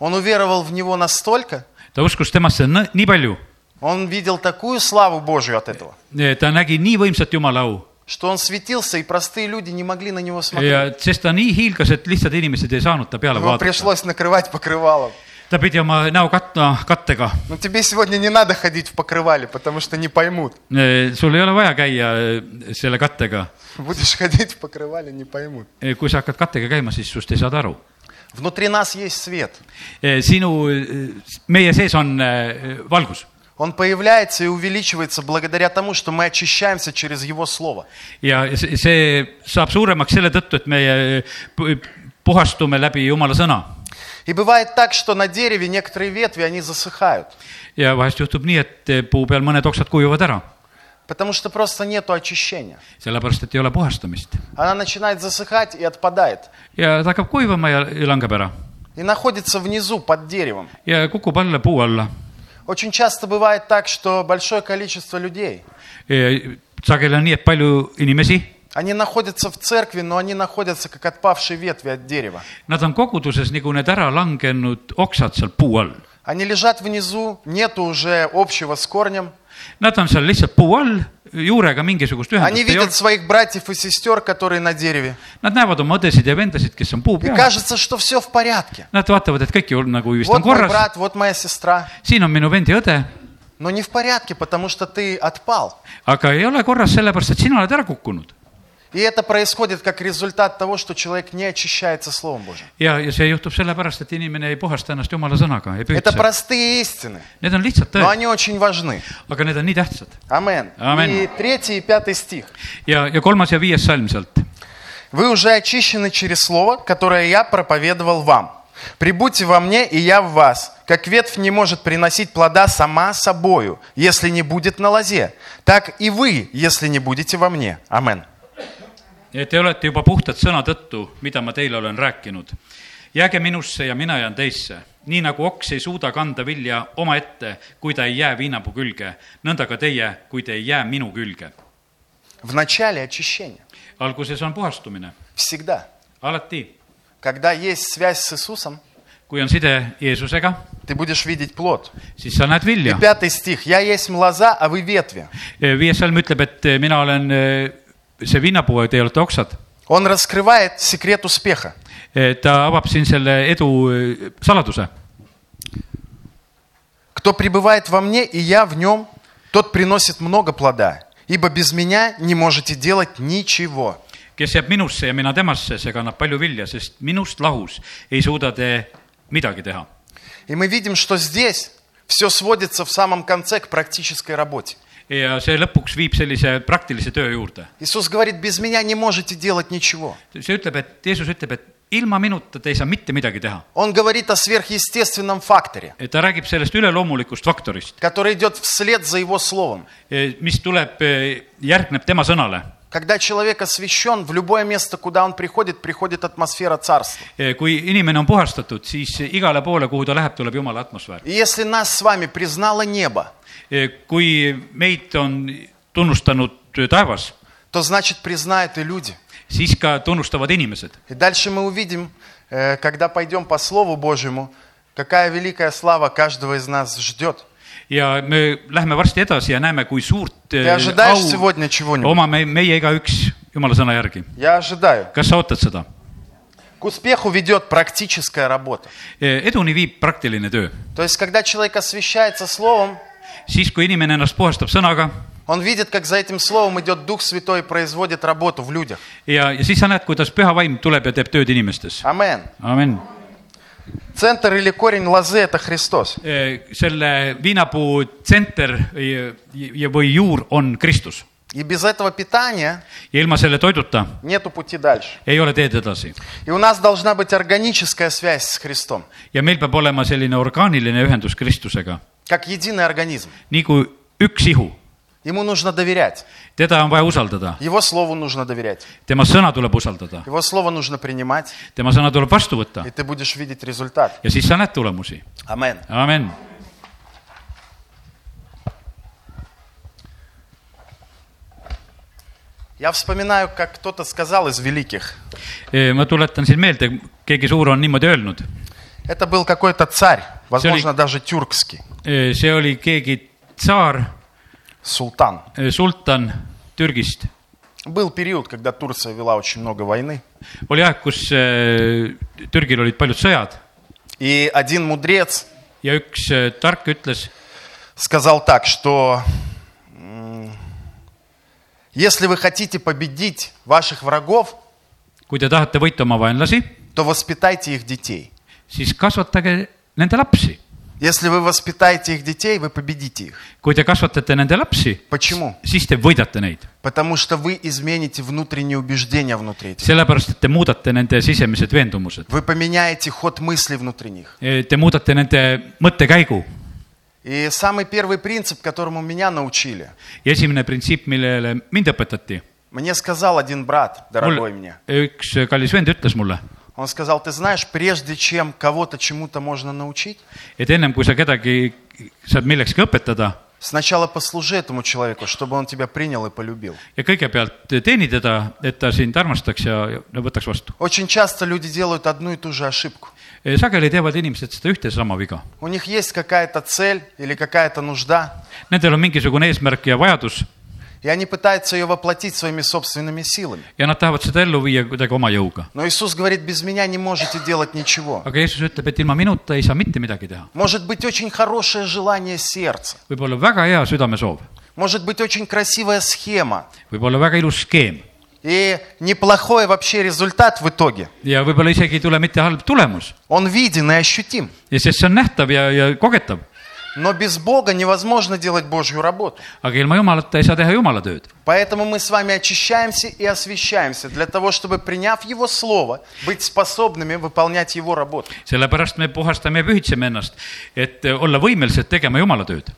S1: Он уверовал в него настолько,
S2: ta uskus temasse nõ- nii palju ,
S1: он видел такую славу Божью от этого,
S2: ta nägi nii võimsat Jumala au
S1: что он светился, и простые люди не могли на него смотреть.
S2: ja sest ta nii hiilgas , et lihtsad inimesed ei saanud ta peale
S1: Ему
S2: vaadata .
S1: пришлось накрывать покрывалом.
S2: ta pidi oma näo katma kattega .
S1: Но тебе сегодня не надо ходить в покрывале, потому что не поймут.
S2: Eh, sul ei ole vaja käia eh, selle kattega .
S1: Будешь ходить в покрывале, не поймут.
S2: kui sa hakkad kattega käima , siis sust ei saada aru .
S1: Внутри нас есть свет.
S2: sinu , meie sees on eh, valgus
S1: Он появляется и увеличивается благодаря тому, что мы очищаемся через Его Слово.
S2: ja see see saab suuremaks selle tõttu , et meie pu- puhastume läbi Jumala sõna .
S1: И бывает так, что на дереве некоторые ветви, они засыхают,
S2: ja vahest juhtub nii , et puu peal mõned oksad kuivad ära ,
S1: потому что просто нету очищения.
S2: sellepärast et ei ole puhastamist
S1: Она начинает засыхать и отпадает.
S2: ja ta hakkab kuivama ja ja langeb ära
S1: И находится внизу, под деревом.
S2: ja kukub alla puu alla .
S1: Очень часто бывает так, что большое количество людей,
S2: sageli on nii , et palju inimesi ,
S1: они находятся в церкви, но они находятся как отпавшие ветви от дерева.
S2: nad on koguduses nagu need ära langenud oksad seal puu all .
S1: Они лежат внизу, нету уже общего с корнем.
S2: Nad on seal lihtsalt puu all , juurega mingisugust
S1: Они
S2: ühendust ei
S1: видят
S2: ole ,
S1: своих братьев и сестер, которые на дереве.
S2: nad näevad oma õdesid ja vendasid , kes on puu
S1: И
S2: peal ,
S1: кажется, что все в порядке.
S2: nad vaatavad , et kõik ju nagu vist on
S1: Вот мой
S2: korras
S1: брат, вот моя сестра.
S2: siin on minu vend ja õde ,
S1: Но не в порядке, потому что ты отпал.
S2: aga ei ole korras sellepärast , et sina oled ära kukkunud .
S1: И это происходит как результат того, что человек не очищается Словом Божьим.
S2: ja , ja see juhtub sellepärast , et inimene ei puhasta ennast jumala sõnaga , ei
S1: Это
S2: püüdse .
S1: простые истины,
S2: Need on lihtsad
S1: но
S2: tõed ,
S1: они очень важны.
S2: aga need on nii tähtsad .
S1: Амен.
S2: Амен.
S1: И третий и пятый стих.
S2: ja , ja kolmas ja viies salm sealt .
S1: Вы уже очищены через слово, которое я проповедовал вам. Прибудьте во мне, и я в вас. Как ветвь не может приносить плода сама собою, если не будет на лозе, так и вы, если не будете во мне. Амен.
S2: et te olete juba puhtad sõna tõttu , mida ma teile olen rääkinud . jääge minusse ja mina jään teisse . nii nagu oks ei suuda kanda vilja omaette , kui ta ei jää viinapuu külge , nõnda ka teie , kui te ei jää minu külge .
S1: В начале очищения.
S2: alguses on puhastumine ,
S1: Всегда.
S2: alati .
S1: Когда есть связь с Иисусом,
S2: kui on side Jeesusega ,
S1: ты будешь видеть плод.
S2: siis sa näed
S1: И
S2: vilja .
S1: пятый стих. «Я есть лоза, а вы ветви».
S2: viies salm ütleb , et mina olen eh, see viinapuu ja teie olete oksad .
S1: Он раскрывает секрет успеха.
S2: ta avab siin selle edu eh, saladuse .
S1: «Кто пребывает во мне, и я в нем, тот приносит много плода, ибо без меня не можете делать ничего».
S2: kes jääb minusse ja mina temasse , see kannab palju vilja , sest minust lahus ei suuda te midagi teha .
S1: И мы видим, что здесь все сводится в самом конце к практической работе.
S2: ja see lõpuks viib sellise praktilise töö juurde .
S1: Иисус говорит, без меня не можете делать ничего.
S2: see ütleb , et Jeesus ütleb , et ilma minuta te ei saa mitte midagi teha .
S1: Он говорит о сверхъестественном факторе,
S2: ta räägib sellest üleloomulikust faktorist ,
S1: который идет вслед за его словом.
S2: mis tuleb , järgneb tema sõnale .
S1: Когда человек освящен, в любое место, куда он приходит, приходит атмосфера царства.
S2: Eh, kui inimene on puhastatud , siis igale poole , kuhu ta läheb , tuleb Jumala atmosfäär .
S1: И если нас с вами признало небо,
S2: Eh, kui meid on tunnustanud eh, taevas ,
S1: то значит признают и люди.
S2: siis ka tunnustavad inimesed .
S1: И дальше мы увидим, э, когда пойдем по Слову Божьему, какая великая слава каждого из нас ждет.
S2: ja me läheme varsti edasi ja näeme , kui suurt
S1: Ты
S2: eh,
S1: ожидаешь сегодня чего-нибудь?
S2: omame meie igaüks Jumala sõna järgi .
S1: Я ожидаю.
S2: kas sa ootad seda ?
S1: К успеху ведет практическая работа.
S2: Eh, eduni viib praktiline töö .
S1: То есть, когда человек освещается Словом,
S2: siis , kui inimene ennast puhastab sõnaga
S1: он видит, как за этим Словом идет Дух Святой и производит работу в людях.
S2: ja , ja siis sa näed , kuidas püha vaim tuleb ja teeb tööd inimestes .
S1: Амен.
S2: amin .
S1: Центр или корень лозы – это Христос.
S2: Eh, selle viinapuu tsenter eh, ja , või juur on Kristus
S1: И без этого питания
S2: ja ilma selle toiduta
S1: нету пути дальше.
S2: ei ole teed edasi
S1: И у нас должна быть органическая связь с Христом,
S2: ja meil peab olema selline orgaaniline ühendus Kristusega ,
S1: как единый организм.
S2: nii kui üks ihu ,
S1: Ему нужно доверять.
S2: teda on vaja usaldada ,
S1: Его Слову нужно доверять.
S2: tema sõna tuleb usaldada ,
S1: Его Слово нужно принимать,
S2: tema sõna tuleb vastu võtta
S1: и ты будешь видеть результат.
S2: ja siis sa näed tulemusi ,
S1: Амен.
S2: amin .
S1: Я вспоминаю, как кто-то сказал из великих.
S2: E, ma tuletan siin meelde , keegi suur on niimoodi öelnud ,
S1: Это был какой-то царь, возможно, даже тюркский,
S2: E, see oli keegi tsaar ,
S1: султан.
S2: sultan Türgist .
S1: Был период, когда Турция вела очень много войны.
S2: oli aeg , kus eh, Türgil olid paljud sõjad
S1: И один мудрец
S2: ja üks eh, tark ütles ,
S1: сказал так, что м, если вы хотите победить ваших врагов,
S2: kui te tahate võita oma vaenlasi ,
S1: то воспитайте их детей.
S2: siis kasvatage nende lapsi .
S1: Если вы воспитаете их детей, вы победите их.
S2: kui te kasvatate nende lapsi ,
S1: Почему?
S2: siis te võidate neid ,
S1: Потому что вы измените внутренние убеждения внутри этих.
S2: sellepärast et te muudate nende sisemised veendumused .
S1: Вы поменяете ход мысли внутри них.
S2: Te muudate nende mõttekäigu
S1: И самый первый принцип, которому меня научили,
S2: ja esimene printsiip , millele mind õpetati ,
S1: мне сказал один брат, дорогой
S2: mul
S1: мне.
S2: üks kallis vend ütles mulle ,
S1: Он сказал, ты знаешь, прежде чем кого-то чему-то можно научить,
S2: et ennem kui sa kedagi saad millekski õpetada
S1: сначала послужи этому человеку, чтобы он тебя принял и полюбил.
S2: ja kõigepealt teeni teda , et ta sind armastaks ja ja võtaks vastu .
S1: Очень часто люди делают одну и ту же ошибку.
S2: sageli teevad inimesed seda ühte ja sama viga .
S1: У них есть какая-то цель или какая-то нужда,
S2: Nendel on mingisugune eesmärk ja vajadus
S1: и они пытаются ее воплотить своими собственными силами.
S2: ja nad tahavad seda ellu viia kuidagi oma jõuga .
S1: Но Иисус говорит, без меня не можете делать ничего.
S2: aga Jeesus ütleb , et ilma minuta ei saa mitte midagi teha .
S1: Может быть очень хорошее желание сердца,
S2: võib olla väga hea südamesoov ,
S1: может быть очень красивая схема
S2: võib olla väga ilus skeem
S1: и неплохой вообще результат в итоге.
S2: ja võib-olla isegi ei tule mitte halb tulemus ,
S1: Он виден и ощутим.
S2: ja sest see on nähtav ja , ja kogetav .
S1: Но без Бога невозможно делать Божью работу.
S2: aga ilma Jumalata ei saa teha Jumala tööd .
S1: Поэтому мы с вами очищаемся и освящаемся для того, чтобы, приняв Его Слово, быть способными выполнять Его работу.
S2: sellepärast me puhastame ja pühitseme ennast , et äh, olla võimelised tegema Jumala tööd .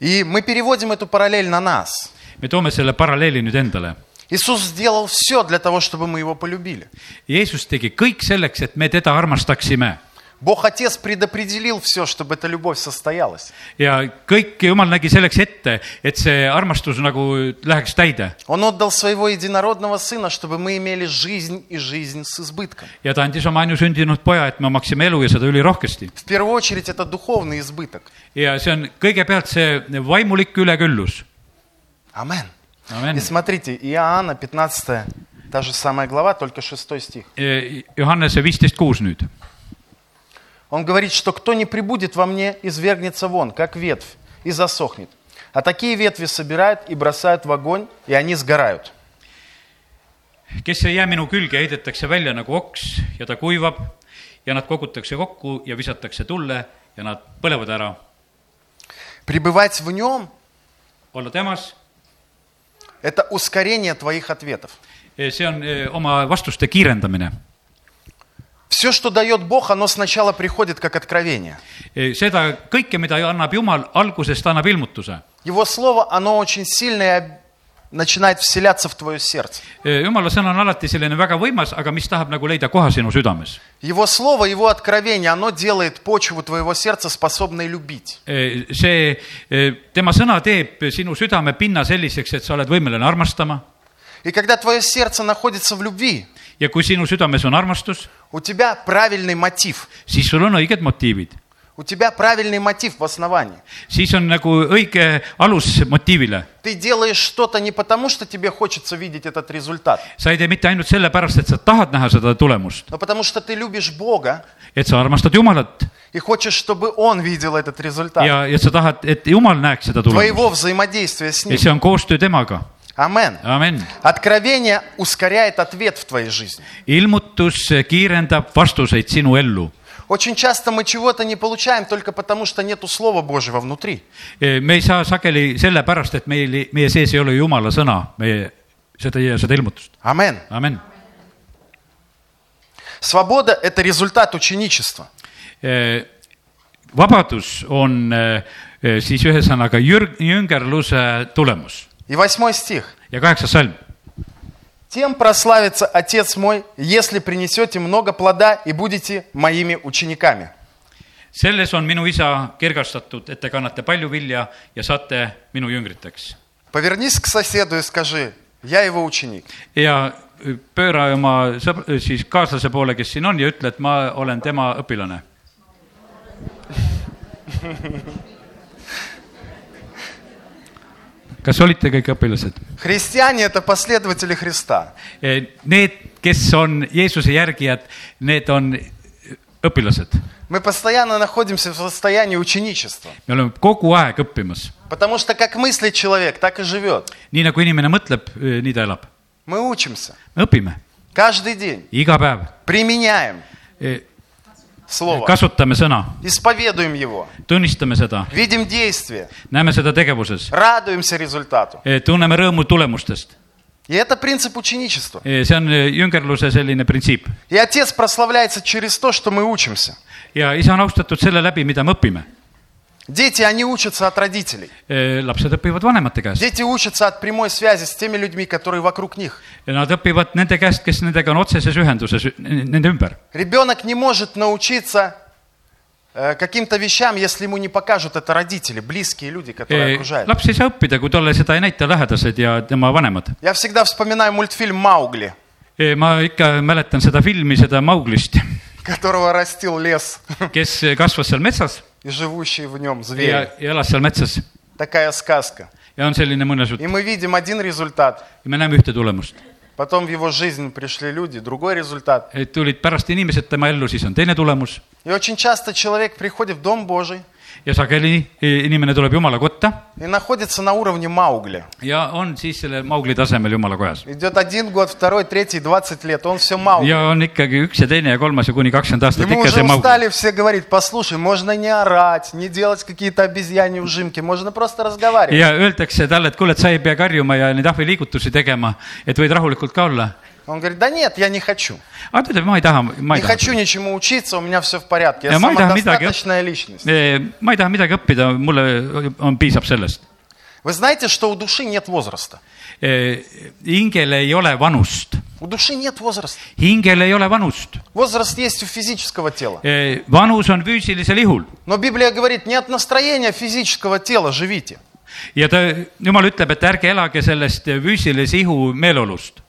S1: И мы переводим эту параллель на нас.
S2: me toome selle paralleeli nüüd endale .
S1: Иисус сделал все для того, чтобы мы Его полюбили.
S2: Jeesus tegi kõik selleks , et me teda armastaksime
S1: Бог Отец предопределил все, чтобы эта любовь состоялась.
S2: ja kõik Jumal nägi selleks ette , et see armastus nagu läheks täide
S1: Он отдал своего единородного Сына, чтобы мы имели жизнь и жизнь с избытком.
S2: ja ta andis oma ainusündinud poja , et me omaksime elu ja seda ülirohkesti .
S1: В первую очередь это духовный избыток.
S2: ja see on kõigepealt see vaimulik üleküllus .
S1: Амен.
S2: Amen.
S1: И смотрите, Иоанна 15, та же самая глава, только 6 стих.
S2: Johannese viisteist kuus nüüd .
S1: Он говорит, что кто не прибудет во мне, извергнется вон, как ветвь, и засохнет. А такие ветви собирают и бросают в огонь, и они сгорают.
S2: kes ei jää minu külge , heidetakse välja nagu oks ja ta kuivab ja nad kogutakse kokku ja visatakse tulle ja nad põlevad ära .
S1: Пребывать в нем
S2: olla temas ,
S1: – это ускорение твоих ответов.
S2: see on eh, oma vastuste kiirendamine .
S1: Все, что дает Бог, оно сначала приходит как откровение.
S2: seda kõike , mida annab Jumal , algusest annab ilmutuse .
S1: Его слово, оно очень сильное начинает вселяться в твое сердце.
S2: jumala sõna on alati selline väga võimas , aga mis tahab nagu leida koha sinu südames .
S1: Его слово, его откровение, оно делает почву твоего сердца способной любить.
S2: see , tema sõna teeb sinu südame pinna selliseks , et sa oled võimeline armastama
S1: И когда твое сердце находится в любви,
S2: ja kui sinu südames on armastus ,
S1: у тебя правильный мотив.
S2: siis sul on õiged motiivid .
S1: У тебя правильный мотив в основании.
S2: siis on nagu õige alus motiivile .
S1: Ты делаешь что-то не потому, что тебе хочется видеть этот результат,
S2: sa ei tee mitte ainult sellepärast , et sa tahad näha seda tulemust ,
S1: но потому что ты любишь Бога
S2: et sa armastad Jumalat
S1: и хочешь, чтобы Он видел этот результат.
S2: ja , ja sa tahad , et Jumal näeks seda tulemust .
S1: Твоего взаимодействия с
S2: ja
S1: Ним.
S2: see on koostöö temaga ,
S1: Амен.
S2: amen .
S1: Откровение ускоряет ответ в твоей жизни.
S2: ilmutus kiirendab vastuseid sinu ellu .
S1: Очень часто мы чего-то не получаем только потому, что нету Слова Божьего внутри.
S2: E, me ei saa sageli sellepärast , et meil , meie sees ei ole Jumala sõna , meie seda , seda ilmutust ,
S1: Амен.
S2: amen .
S1: Свобода – это результат ученичества.
S2: E, vabadus on eh, siis ühesõnaga jürg- , jüngerluse tulemus
S1: И восьмой стих.
S2: ja kaheksas salm
S1: «Тем прославится Отец мой, если принесете много плода и будете моими учениками».
S2: selles on minu isa kirgastatud , et te kannate palju vilja ja saate minu jüngriteks .
S1: Повернись к соседу и скажи, я его ученик.
S2: ja pööra oma sõb- , siis kaaslase poole , kes siin on ja ütle , et ma olen tema õpilane . kas olite kõik õpilased ?
S1: Христиане – это последователи Христа.
S2: E, Need , kes on Jeesuse järgijad , need on õpilased .
S1: Мы постоянно находимся в состоянии ученичества.
S2: me oleme kogu aeg õppimas .
S1: Потому что как мыслит человек, так и живет.
S2: nii nagu inimene mõtleb , nii ta elab .
S1: Мы учимся
S2: me õpime
S1: каждый день,
S2: iga päev ,
S1: применяем Слово,
S2: kasutame sõna ,
S1: исповедуем его,
S2: tunnistame seda ,
S1: видим действие,
S2: näeme seda tegevuses ,
S1: радуемся результату.
S2: tunneme rõõmu tulemustest .
S1: И это принцип ученичества.
S2: see on e, jüngerluse selline printsiip
S1: И Отец прославляется через то, что мы учимся.
S2: ja isa on austatud selle läbi , mida me õpime .
S1: Дети, они учатся от родителей.
S2: lapsed õpivad vanemate käest ,
S1: Дети учатся от прямой связи с теми людьми, которые вокруг них.
S2: nad õpivad nende käest , kes nendega on otseses ühenduses , nende ümber .
S1: Ребенок не может научиться э, каким-то вещам, если ему не покажут это родители, близкие люди,
S2: Э,
S1: которые окружают.
S2: E- laps ei saa õppida , kui talle seda ei näita lähedased ja tema vanemad .
S1: Я всегда вспоминаю мультфильм «Маугли»,
S2: ma ikka mäletan seda filmi , seda Mauglist ,
S1: которого растил лес
S2: kes kasvas seal metsas
S1: и живущие в нем
S2: ja,
S1: звери.
S2: ja elas seal metsas
S1: Такая сказка.
S2: ja on selline muinasjutt
S1: И мы видим один результат,
S2: ja me näeme ühte tulemust .
S1: потом в его жизнь пришли люди, другой результат.
S2: et tulid pärast inimesed tema ellu , siis on teine tulemus
S1: И очень часто человек приходит в Дом Божий
S2: ja sageli inimene tuleb jumala kotta
S1: и naходится на уровне Маугли.
S2: ja on siis selle Maugli tasemel jumala kojas .
S1: Идет один год, второй, третий, 20 лет, он все Маугли.
S2: ja on ikkagi üks ja teine ja kolmas ja kuni kakskümmend aastat
S1: Ему
S2: ikka
S1: уже
S2: see Maugli .
S1: устали все говорить, послушай, можно не орать, не делать какие-то обезьяне ужимки, можно просто разговаривать.
S2: ja öeldakse talle , et kuule , et sa ei pea karjuma ja neid ahviliigutusi tegema , et võid rahulikult ka olla .
S1: Он говорит, да нет, я не хочу.
S2: aga ta ütleb , ma ei taha , ma
S1: Не
S2: ei таha .
S1: хочу ничему учиться, у меня все в порядке. Я
S2: Э, Майда, Амида,
S1: самодостаточная личность.
S2: Eh, ma ei taha midagi õppida , mulle on , piisab sellest .
S1: Вы знаете, что у души нет возраста?
S2: hingel Eh, ei ole vanust ,
S1: У души нет возраста.
S2: hingel ei ole vanust ,
S1: Возраст есть у физического тела.
S2: vanus on füüsilisel ihul
S1: Но Библия говорит, нет настроения физического тела, живите.
S2: ja ta , jumal ütleb , et ärge elage sellest füüsilise ihu meeleolust ,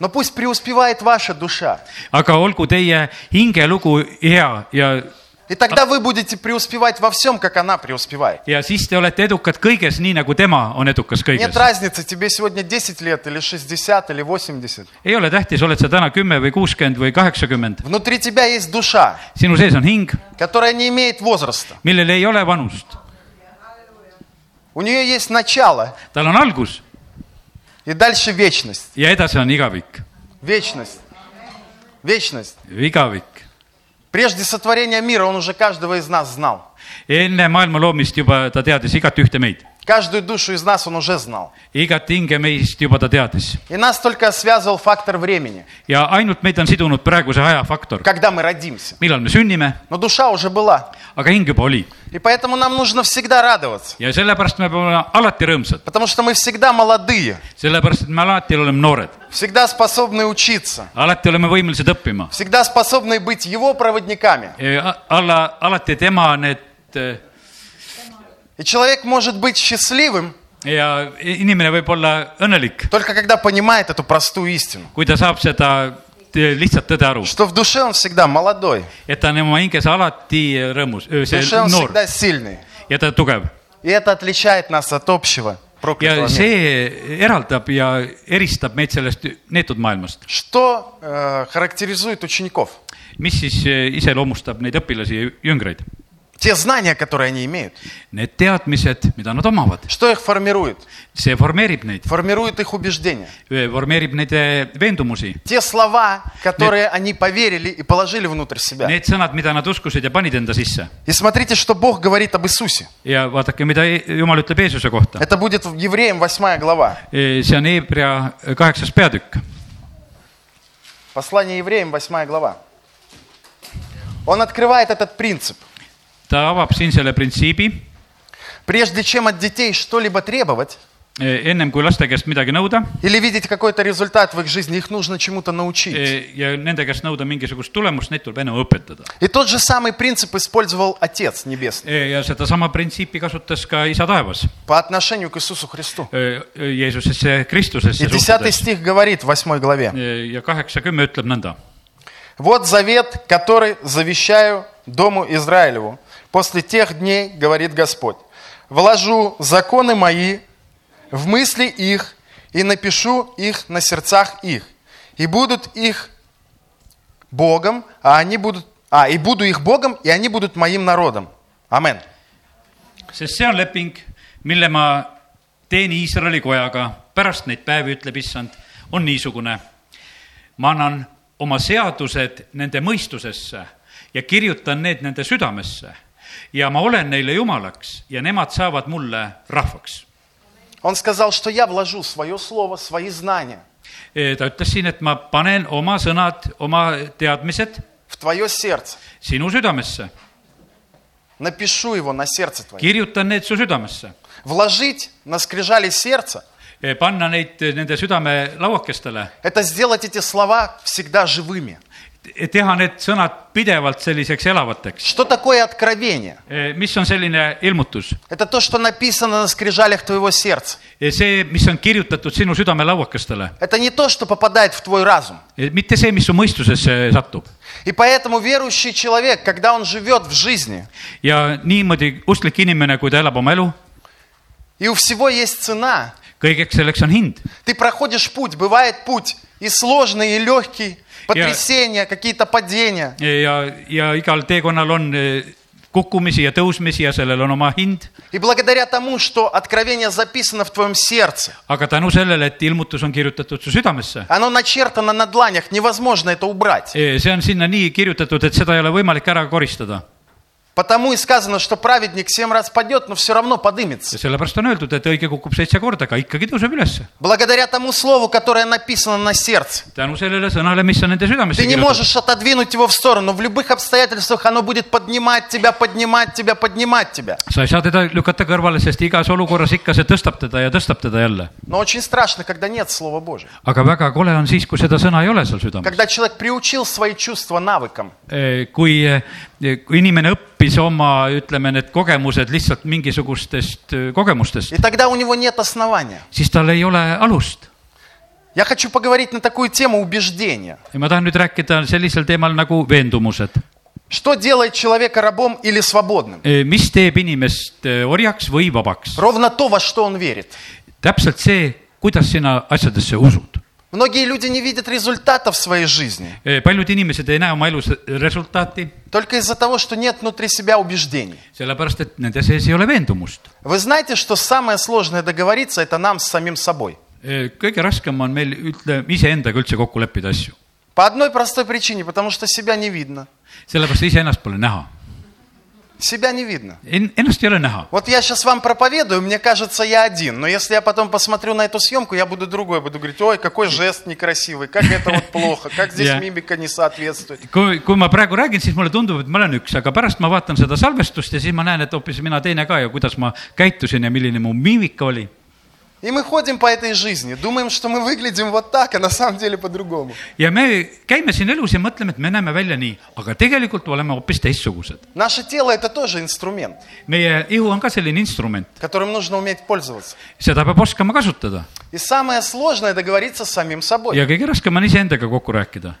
S1: Но пусть преуспевает ваша душа.
S2: aga olgu teie hingelugu hea ja ,
S1: И тогда вы будете преуспевать во всем, как она преуспевает.
S2: ja siis te olete edukad kõiges , nii nagu tema on edukas
S1: Нет
S2: kõiges .
S1: разницы, тебе сегодня 10 лет или 60 или 80.
S2: ei ole tähtis , oled sa täna kümme või kuuskümmend või kaheksakümmend ,
S1: Внутри тебя есть душа,
S2: sinu sees on hing ,
S1: которая не имеет возраста.
S2: millel ei ole vanust ,
S1: У нее есть начало
S2: tal on algus
S1: и дальше вечность.
S2: ja edasi on igavik ,
S1: Вечность. Вечность.
S2: igavik .
S1: Прежде сотворения мира он уже каждого из нас знал.
S2: enne maailma loomist juba ta teadis igat ühte meid ,
S1: Каждую душу из нас он уже знал.
S2: igat hinge meist juba ta teadis
S1: И нас только связывал фактор времени,
S2: ja ainult meid on sidunud praeguse ajafaktor ,
S1: когда мы родимся.
S2: millal me sünnime
S1: Но душа уже была.
S2: aga hing juba oli
S1: И поэтому нам нужно всегда радоваться.
S2: ja sellepärast me peame olema alati rõõmsad ,
S1: Потому что мы всегда молодые,
S2: sellepärast et me alati oleme noored ,
S1: всегда способны учиться,
S2: alati oleme võimelised õppima .
S1: всегда способны быть его проводниками.
S2: alla , alati tema need eh,
S1: И человек может быть счастливым,
S2: ja inimene võib olla õnnelik ,
S1: только когда понимает эту простую истину.
S2: kui ta saab seda te- lihtsat tõde aru ,
S1: что в душе он всегда молодой,
S2: et ta on oma hinges alati rõõmus ,
S1: в душе
S2: see
S1: он
S2: noor
S1: всегда сильный.
S2: ja ta tugev
S1: И это отличает нас от общего проклятого мира.
S2: ja see eraldab ja eristab meid sellest neetud maailmast ,
S1: Что э, характеризует учеников?
S2: mis siis eh, iseloomustab neid õpilasi ja jüngreid .
S1: Те знания, которые они имеют.
S2: Need teadmised , mida nad omavad ,
S1: Что их формирует?
S2: see formeerib neid .
S1: Формирует их убеждения.
S2: vormeerib nende veendumusi .
S1: Те слова, которые они поверили и положили внутрь себя.
S2: Need sõnad , mida nad uskusid ja panid enda sisse
S1: И смотрите, что Бог говорит об Иисусе.
S2: ja vaadake , mida E- Jumal ütleb Jeesuse kohta .
S1: Это будет в Евреям 8 глава.
S2: see on Hebra kaheksas peatükk ,
S1: Послание Евреям 8 глава. Он открывает этот принцип.
S2: ta avab siin selle printsiibi ,
S1: Прежде чем от детей что-либо требовать,
S2: ennem kui laste käest midagi nõuda
S1: или видеть какой-то результат в их жизни, их нужно чему-то научить.
S2: eh, ja nende käest nõuda mingisugust tulemust , neid tuleb enne õpetada .
S1: И тот же самый принцип использовал Отец Небесный
S2: ja sedasama printsiipi kasutas ka Isa taevas
S1: по отношению к Иисусу Христу.
S2: eh, Jeesusesse , Kristusesse
S1: И 10
S2: suhtudes .
S1: стих говорит в 8 главе.
S2: ja kaheksakümmend ütleb nõnda
S1: «Вот завет, который завещаю Дому Израилеву. После тех дней, говорит Господь, вложу законы мои в мысли их и напишу их на сердцах их. И будут их Богом, а они будут... А, и буду их Богом, и они будут моим народом. Амен.
S2: sest see on leping , mille ma teen Iisraeli kojaga pärast neid päevi , ütleb issand , on niisugune . ma annan oma seadused nende mõistusesse ja kirjutan need nende südamesse ja ma olen neile jumalaks ja nemad saavad mulle rahvaks .
S1: Он сказал, что я вложу свое слово, свои знания
S2: E, ta ütles siin , et ma panen oma sõnad , oma teadmised
S1: в твое сердце,
S2: sinu südamesse ,
S1: напишу его на сердце твое.
S2: kirjutan need su südamesse ,
S1: Вложить на скрижали сердца
S2: panna neid nende südame lauakestele
S1: это сделать эти слова всегда живыми.
S2: E, teha need sõnad pidevalt selliseks elavateks .
S1: Что такое откровение?
S2: Eh, mis on selline ilmutus ?
S1: Это то, что написано на скрижалях твоего сердца.
S2: see , mis on kirjutatud sinu südamelauakestele ,
S1: Это не то, что попадает в твой разум.
S2: mitte see , mis su mõistusesse satub .
S1: И поэтому верующий человек, когда он живет в жизни,
S2: ja niimoodi usklik inimene , kui ta elab oma elu ,
S1: и у всего есть цена,
S2: kõigeks selleks on hind .
S1: ты проходишь путь, бывает путь и сложный, и легкий, потрясения, какие-то падения.
S2: Eh, ja , ja igal teekonnal on eh, kukkumisi ja tõusmisi ja sellel on oma hind ,
S1: И благодаря тому, что откровение zapисано в твоем сердце,
S2: aga tänu sellele , et ilmutus on kirjutatud su südamesse ,
S1: оно начертано на дланях, невозможно это убрать.
S2: see on sinna nii kirjutatud , et seda ei ole võimalik ära koristada .
S1: Потому и сказано, что праведник семь раз падет, но все равно
S2: ja
S1: подымется.
S2: sellepärast on öeldud , et õige kukub seitse korda , aga ikkagi tõuseb ülesse .
S1: Благодаря тому слову, которое написано на сердце.
S2: tänu sellele sõnale , mis on nende südamesse
S1: Ты не
S2: kirjutatud .
S1: можешь отодвинуть его в сторону. В любых обстоятельствах оно будет поднимать тебя, поднимать тебя, поднимать тебя.
S2: sa ei saa teda lükata kõrvale , sest igas olukorras ikka see tõstab teda ja tõstab teda jälle .
S1: Но очень страшно, когда нет Слова Божьего.
S2: aga väga kole on siis , kui seda sõna ei ole seal südames .
S1: Когда человек приучил свои чувства навыкам.
S2: kui , kui inimene õppis oma , ütleme , need kogemused lihtsalt mingisugustest eh, kogemustest
S1: И , тогда у него нет основания.
S2: siis tal ei ole alust .
S1: Я хочу поговорить на такую тему убеждения.
S2: ja ma tahan nüüd rääkida sellisel teemal nagu veendumused .
S1: Что делает человека рабом или свободным?
S2: Eh, mis teeb inimest eh, orjaks või vabaks ?
S1: Ровно то, во что он верит.
S2: täpselt see , kuidas sina asjadesse usud .
S1: Многие люди не видят результата в своей жизни
S2: Eh, paljud inimesed ei näe oma elus resultaati ,
S1: только из-за того, что нет внутри себя убеждений.
S2: sellepärast et nende sees ei ole veendumust
S1: Вы знаете, что самое сложное договориться – это нам с самим собой.
S2: kõige raskem on meil ütle , iseendaga üldse kokku leppida asju ,
S1: По одной простой причине, потому что себя не видно.
S2: sellepärast iseennast pole näha .
S1: Себя не видно.
S2: En- , ennast ei ole näha .
S1: Вот я сейчас вам проповедую, мне кажется, я один, но если я потом посмотрю на эту съемку, я буду другой, буду говорить, ой, какой жест некрасивый, как это вот плохо, как здесь
S2: Я-
S1: мимика не соответствует.
S2: kui , kui ma praegu räägin , siis mulle tundub , et ma olen üks , aga pärast ma vaatan seda salvestust ja siis ma näen , et hoopis mina teine ka ja kuidas ma käitusin ja milline mu miimika oli .
S1: И мы ходим по этой жизни, думаем, что мы выглядим вот так, а на самом деле по-другому.
S2: ja me käime siin elus ja mõtleme , et me näeme välja nii , aga tegelikult oleme hoopis teistsugused .
S1: Наше тело – это тоже инструмент,
S2: meie ihu on ka selline instrument ,
S1: которым нужно уметь пользоваться.
S2: seda peab oskama kasutada
S1: И самое сложное – договориться с самим собой,
S2: ja kõige raskem on iseendaga kokku rääkida ,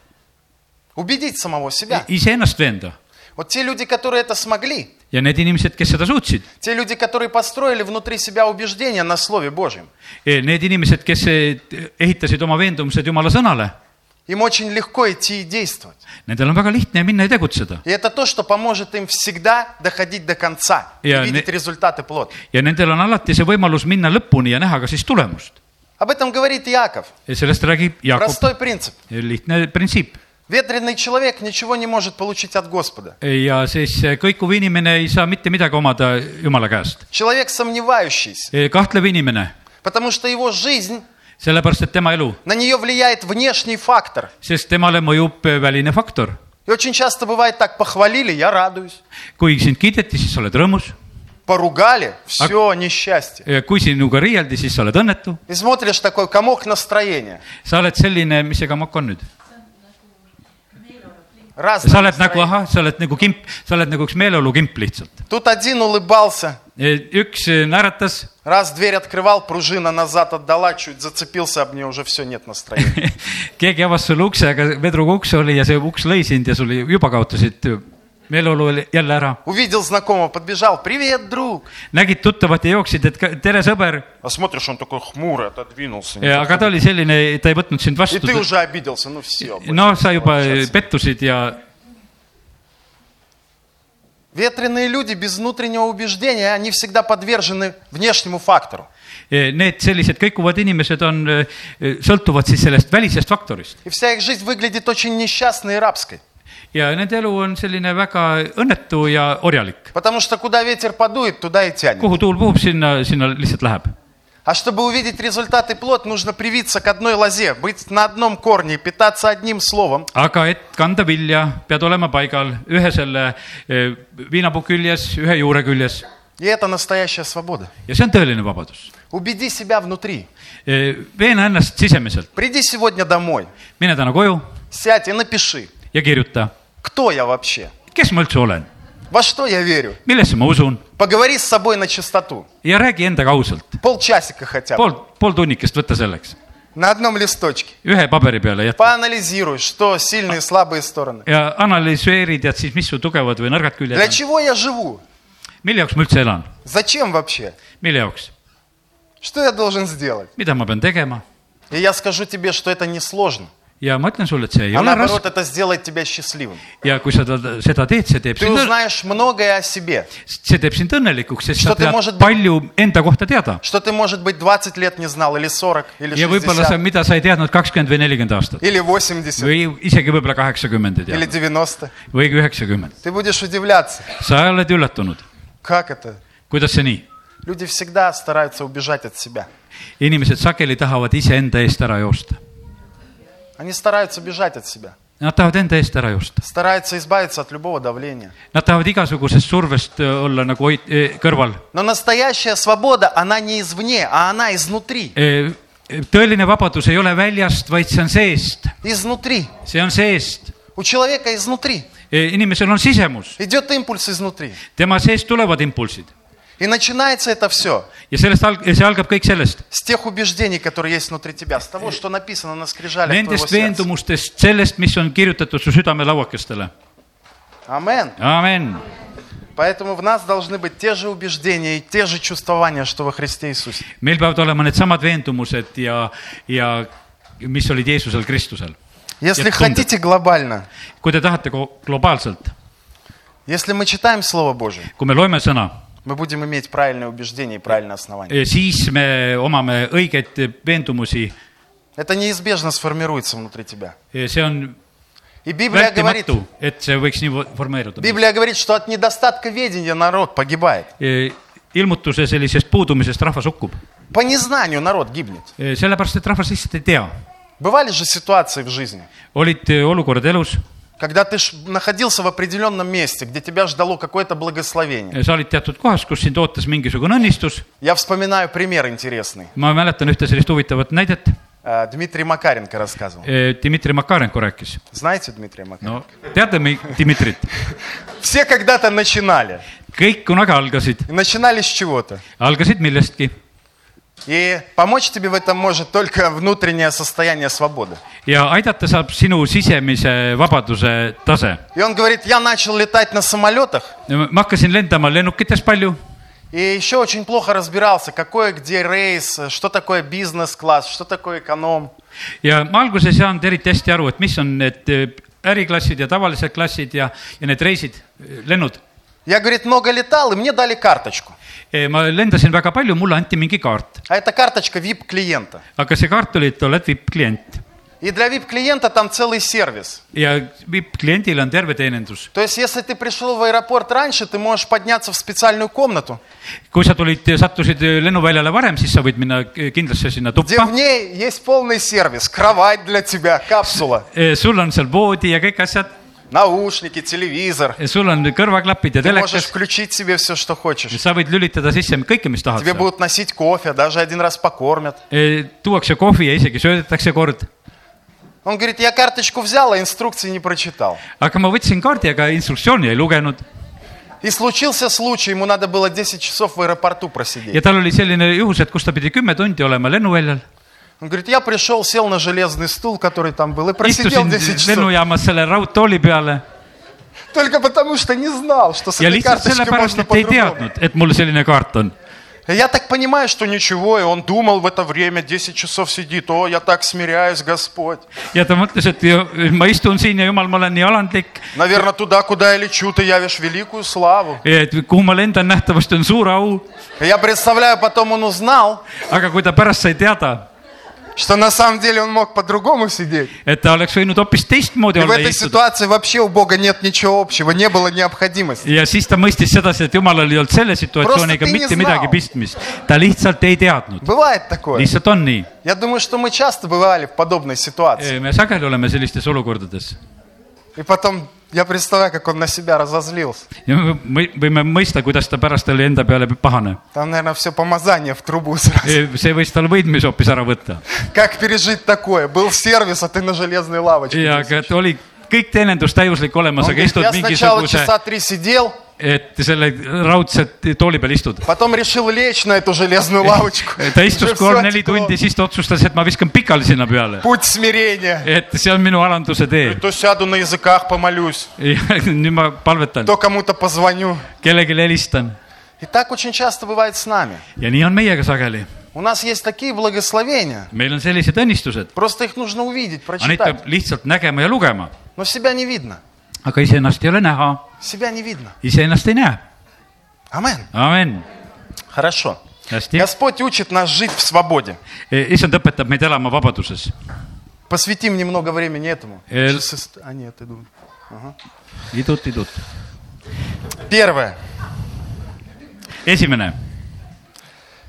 S1: убедить самого себя.
S2: iseennast veenda
S1: Вот те люди, которые это смогли,
S2: ja need inimesed , kes seda suutsid ,
S1: те люди, которые построили внутри себя убеждения на Слове Божьем,
S2: Eh, Need inimesed , kes eh, ehitasid oma veendumused Jumala sõnale ,
S1: им очень легко идти и действовать.
S2: nendel on väga lihtne minna ja tegutseda
S1: И это то, что поможет им всегда доходить до конца и
S2: Я
S1: видеть
S2: не-
S1: результаты плод.
S2: ja nendel on alati see võimalus minna lõpuni ja näha ka siis tulemust .
S1: Об этом говорит Иаков.
S2: sellest räägib Jaakop ,
S1: Простой принцип.
S2: lihtne printsiip
S1: Ветреный человек ничего не может получить от Господа.
S2: Eh, ja siis kõikuv inimene ei saa mitte midagi omada Jumala käest .
S1: Человек сомневающийся,
S2: kahtlev inimene ,
S1: потому что его жизнь,
S2: sellepärast et tema elu ,
S1: на нее влияет внешний фактор.
S2: sest temale mõjub eh, väline faktor .
S1: И очень часто бывает так, похвалили, я радуюсь.
S2: kui sind kiideti , siis sa oled rõõmus ,
S1: поругали,
S2: А
S1: все несчастье.
S2: kui sinuga riieldi , siis sa oled õnnetu ,
S1: И смотришь такой комок настроения.
S2: sa oled selline , mis see kamak on nüüd ?
S1: Разное
S2: sa oled
S1: настроение.
S2: nagu ahah , sa oled nagu kimp , sa oled nagu üks meeleolukimp lihtsalt .
S1: Тут один улыбался,
S2: üks e, naeratas
S1: раз дверь открывал, пружина назад отдала, чуть зацепился об нее, уже все нет настроения.
S2: keegi avas sulle ukse , aga vedruga uks oli ja see uks lõi sind ja sul juba kaotasid meeleolu oli jälle ära .
S1: Увидел знакомого, подбежал, привет, друг.
S2: nägid tuttavat ja jooksid , et ka- tere , sõber ,
S1: А смотришь, он такой хмурый, отодвинулся.
S2: aga ta oli selline , ta ei võtnud sind
S1: И
S2: vastu
S1: а ты . уже обиделся, ну все.
S2: no sa juba e, pettusid ja
S1: Ветреные люди без внутреннего убеждения, они всегда подвержены внешнему фактору.
S2: e, need sellised kõikuvad inimesed on , sõltuvad siis sellest välisest faktorist
S1: И вся их жизнь выглядит очень несчастной и рабской.
S2: ja nende elu on selline väga õnnetu ja orjalik .
S1: Потому что куда ветер подует, туда и тянет.
S2: kuhu tuul puhub , sinna , sinna lihtsalt läheb .
S1: А чтобы увидеть результат и плод, нужно привиться к одной лозе, быть на одном корне, и питаться одним словом.
S2: aga et kanda vilja , pead olema paigal ühe selle eh, viinapuu küljes , ühe juure küljes
S1: И это настоящая свобода.
S2: ja see on tõeline vabadus .
S1: Убеди себя внутри.
S2: veena ennast sisemiselt ,
S1: Приди сегодня домой,
S2: mine täna koju
S1: сядь и напиши,
S2: ja kirjuta ,
S1: кто я вообще,
S2: kes ma üldse olen ,
S1: во что я верю.
S2: millesse ma usun
S1: Поговори с собой на чистоту.
S2: ja räägi endaga ausalt .
S1: Полчасика хотя бы.
S2: pool , pool tunnikest võta selleks ,
S1: На одном листочке.
S2: ühe paberi peale jätta
S1: Поанализируй, что сильные и слабые стороны.
S2: ja analüseeri , tead siis , mis su tugevad või nõrgad
S1: Для
S2: küljed on ,
S1: чего я живу?
S2: mille jaoks ma üldse elan ,
S1: Зачем вообще?
S2: mille jaoks ,
S1: Что я должен сделать?
S2: mida ma pean tegema
S1: И я скажу тебе, что это несложно.
S2: ja ma ütlen sulle , et see ei
S1: А
S2: ole
S1: наоборот,
S2: raske
S1: это сделает тебя счастливым.
S2: ja kui sa ta- seda teed , see teeb
S1: Ты
S2: sind õnn-
S1: узнаешь многое о себе,
S2: see teeb sind õnnelikuks , sest sa
S1: Što te
S2: tead
S1: možet-
S2: palju enda kohta teada
S1: что ты, может быть, 20 лет не знал, или 40, или
S2: ja võib-olla sa ,
S1: 60,
S2: mida sa ei teadnud kakskümmend või nelikümmend aastat
S1: или 80,
S2: või isegi võib-olla kaheksakümmend ei
S1: или
S2: teadnud
S1: 90.
S2: või üheksakümmend .
S1: Ты будешь удивляться,
S2: sa oled üllatunud ,
S1: как это?
S2: kuidas see nii ?
S1: Люди всегда стараются убежать от себя.
S2: inimesed sageli tahavad iseenda eest ära joosta ,
S1: Они стараются бежать от себя,
S2: nad tahavad enda eest ära joosta ,
S1: стараются избавиться от любого давления.
S2: nad tahavad igasugusest survest öö, olla nagu hoid- , kõrval .
S1: Но настоящая свобода, она не извне, а она изнутри.
S2: Äh, tõeline vabadus ei ole väljast , vaid see on seest ,
S1: Изнутри.
S2: see on seest .
S1: У человека изнутри.
S2: inimesel on sisemus ,
S1: Идет импульс изнутри.
S2: tema seest tulevad impulsid
S1: И начинается это все
S2: ja sellest alg- , see algab kõik sellest ,
S1: с тех убеждений, которые есть внутри тебя, с того, что написано на скрижалях твоего
S2: nendest
S1: сердца.
S2: veendumustest , sellest , mis on kirjutatud su südamelauakestele .
S1: Амен.
S2: amin .
S1: Поэтому в нас должны быть те же убеждения и те же чувствования, что во Христе Иисусе.
S2: meil peavad olema needsamad veendumused ja , ja mis olid Jeesusel Kristusel .
S1: Если
S2: Я помню.
S1: хотите глобально,
S2: kui te tahate ko- globaalselt ,
S1: если мы читаем Слово Божие,
S2: kui me loeme sõna ,
S1: мы будем иметь правильное убеждение и правильное
S2: Э,
S1: основание.
S2: siis me omame õigeid veendumusi ,
S1: Это неизбежно сформируется внутри тебя.
S2: see on
S1: И Библия говорит,
S2: vältimatu , et see võiks nii vo- formeeruda .
S1: Библия говорит, что от недостатка ведения народ погибает.
S2: Eh, ilmutuse sellisest puudumisest rahvas hukkub ,
S1: По neznanию народ гибнет.
S2: sellepärast et rahvas lihtsalt ei tea .
S1: Бывали же ситуации в жизни,
S2: olid eh, olukorrad elus
S1: когда ты ж находился в определенном месте, где тебя ждало какое-то благословение.
S2: eh, sa olid teatud kohas , kus sind ootas mingisugune õnnistus .
S1: Я вспоминаю пример интересный.
S2: ma mäletan ühte sellist huvitavat näidet .
S1: Э, Дмитрий Макаренко рассказывал.
S2: Dmitri Makarenko rääkis .
S1: Знаете Дмитрия Макаренко?
S2: no teate mi- Dmitrit ,
S1: Все когда-то начинали.
S2: kõik kunagi algasid ,
S1: И начинали с чего-то.
S2: algasid millestki
S1: И помочь тебе в этом может только внутреннее состояние свободы.
S2: ja aidata saab sinu sisemise vabaduse tase .
S1: И он говорит, я начал летать на самолетах,
S2: ma hakkasin lendama lennukites palju
S1: и еще очень плохо разбирался, какой где рейс, что такое бизнес-класс, что такое эконом.
S2: ja ma alguses ei saanud eriti hästi aru , et mis on need eh, äriklassid ja tavalised klassid ja , ja need reisid , lennud .
S1: Я, говорит, много lетал, и мне дали карточку.
S2: E, ma lendasin väga palju , mulle anti mingi kaart ,
S1: А это карточка VIP-клиента.
S2: aga see kaart oli , et oled vipp-klient
S1: И для VIP-клиента там целый сервис.
S2: ja kliendil on terve teenindus .
S1: То есть, если ты пришел в аэропорт раньше, ты можешь подняться в специальную комнату,
S2: kui sa tulid , sattusid lennuväljale varem , siis sa võid minna kindlasti sinna
S1: где
S2: tuppa
S1: в . ней есть полный сервис, кровать для тебя, капсула.
S2: Eh, sul on seal voodi ja kõik asjad .
S1: наушники, телевизор.
S2: sul on kõrvaklapid ja
S1: Ты можешь
S2: telekas ,
S1: включить себе все, что хочешь.
S2: sa võid lülitada sisse kõike , mis tahad Eh,
S1: Тебе . будут носить кофе, даже один раз покормят.
S2: tuuakse kohvi ja isegi söödetakse kord .
S1: Он говорит, я карточку взял, а инструкции не прочитал.
S2: aga ma võtsin kaardi , aga instruktsiooni ei lugenud
S1: И случился случай, ему надо было 10 часов в аэропорту
S2: ja
S1: просидеть.
S2: tal oli selline juhus , et kus ta pidi kümme tundi olema lennuväljal .
S1: Он говорит, я пришел, сел на железный стул, который там был, и просидел
S2: istusin
S1: 10 часов.
S2: lennujaamas selle raudtooli peale
S1: Только потому, что не знал, что с
S2: ja
S1: этой
S2: lihtsalt
S1: карточкой
S2: sellepärast ,
S1: можно
S2: et ei
S1: по-другому.
S2: teadnud , et mul selline kaart on .
S1: Я так понимаю, что ничего, и он думал в это время, 10 часов сидит, о, я так смиряюсь, Господь.
S2: ja ta mõtles , et ju- ma istun siin ja jumal , ma olen nii alandlik ,
S1: Наверное, туда, куда я лечу, ты явишь великую славу.
S2: et kuhu ma lendan , nähtavasti on suur au .
S1: Я представляю, потом он узнал,
S2: aga kui ta pärast sai teada ,
S1: что на самом деле он мог по-другому сидеть.
S2: et ta oleks võinud hoopis teistmoodi
S1: И в
S2: olla
S1: этой
S2: istuda
S1: ситуации вообще у Бога нет ничего общего, не было необходимости.
S2: ja siis ta mõistis sedasi , et jumalal ei olnud selle situatsiooniga
S1: Prostatiin
S2: mitte
S1: znal.
S2: midagi pistmist . ta lihtsalt ei teadnud ,
S1: Бывает такое.
S2: lihtsalt on nii .
S1: Я думаю, что мы часто бывали в подобной ситуации.
S2: me sageli oleme sellistes olukordades
S1: И потом я представляю, как он на себя разозлился.
S2: ja me või- võime mõista , kuidas ta pärast oli enda peale pahane .
S1: Там, наверное, все помазание в трубу сразу.
S2: see võis tal võidmise hoopis ära võtta
S1: Как пережить такое? Был сервис, а ты на железной лавочке.
S2: ja
S1: Он
S2: aga et oli kõik teenindus täiuslik olemas , aga
S1: говорит,
S2: istud
S1: Ну, я сначала
S2: mingisuguse ,
S1: часа три сидел,
S2: et selle raudse tooli peal istud .
S1: потом решил лечь на эту железную лавочку.
S2: Eh, ta istus
S1: Уже всё
S2: korra neli
S1: оттекло.
S2: tundi , siis ta otsustas , et ma viskan pikali sinna peale ,
S1: Путь смирения.
S2: et see on minu alanduse tee .
S1: То сяду на языках, помолюсь,
S2: ja nüüd ma palvetan ,
S1: то кому-то позвоню.
S2: kellelegi helistan
S1: И так очень часто бывает с нами.
S2: ja nii on meiega sageli .
S1: У нас есть такие благословения.
S2: meil on sellised õnnistused ,
S1: Просто их нужно увидеть,
S2: aga neid peab
S1: прочитать.
S2: lihtsalt nägema ja lugema ,
S1: Но себя не видно.
S2: aga iseennast ei ole näha ,
S1: Себя не видно.
S2: iseennast ei näe .
S1: Амен.
S2: amen ,
S1: Хорошо.
S2: hästi .
S1: Господь учит нас жить в свободе.
S2: issand õpetab meid elama vabaduses .
S1: Посвятим немного времени этому.
S2: Эль.
S1: Сейчас ист- А нет, иду.
S2: idut , idut .
S1: Первое.
S2: esimene ,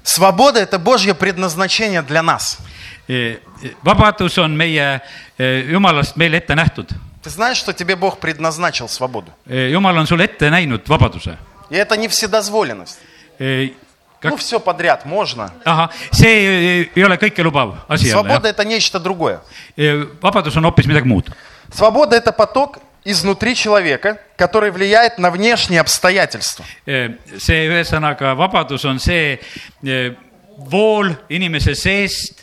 S1: Свобода – это Божье предназначение для нас.
S2: Eh, vabadus on meie eh, jumalast meile ette nähtud .
S1: Ты знаешь, что тебе Бог предназначил свободу?
S2: jumal on sulle ette näinud vabaduse . Eh,
S1: И это не вседозволенность. Ну, все подряд можно.
S2: ahah , see eh, ei ole kõikelubav asi jälle ,
S1: Свобода – это нечто другое.
S2: jah . vabadus on hoopis midagi muud .
S1: Свобода – это поток изнутри человека, который влияет на внешние обстоятельства.
S2: see ühesõnaga , vabadus on see eh, vool inimese seest .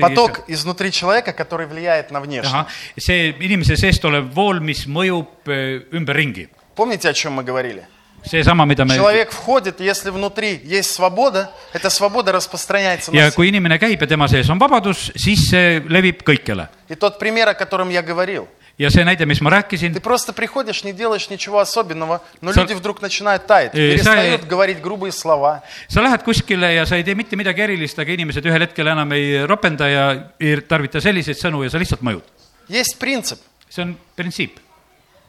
S1: Поток изнутри человека, который влияет на внешние.
S2: ahah , see inimese seest olev vool , mis mõjub eh, ümberringi .
S1: Помните, о чем мы говорили?
S2: seesama , mida me .
S1: Человек входит, и если внутри есть свобода, эта свобоda распространяется на
S2: ja
S1: всех.
S2: kui inimene käib ja tema sees on vabadus , siis see levib kõikjale .
S1: И тот пример, о котором я говорил.
S2: ja see näide , mis ma rääkisin
S1: Ты , просто приходишь, не делаешь ничего особенного, но
S2: Со-
S1: люди вдруг начинают таять,
S2: Э,
S1: перестают
S2: са-
S1: говорить грубые слова.
S2: sa lähed kuskile ja sa ei tee mitte midagi erilist , aga inimesed ühel hetkel enam ei ropenda ja ei tarvita selliseid sõnu ja sa lihtsalt mõjud .
S1: Есть принцип.
S2: see on printsiip .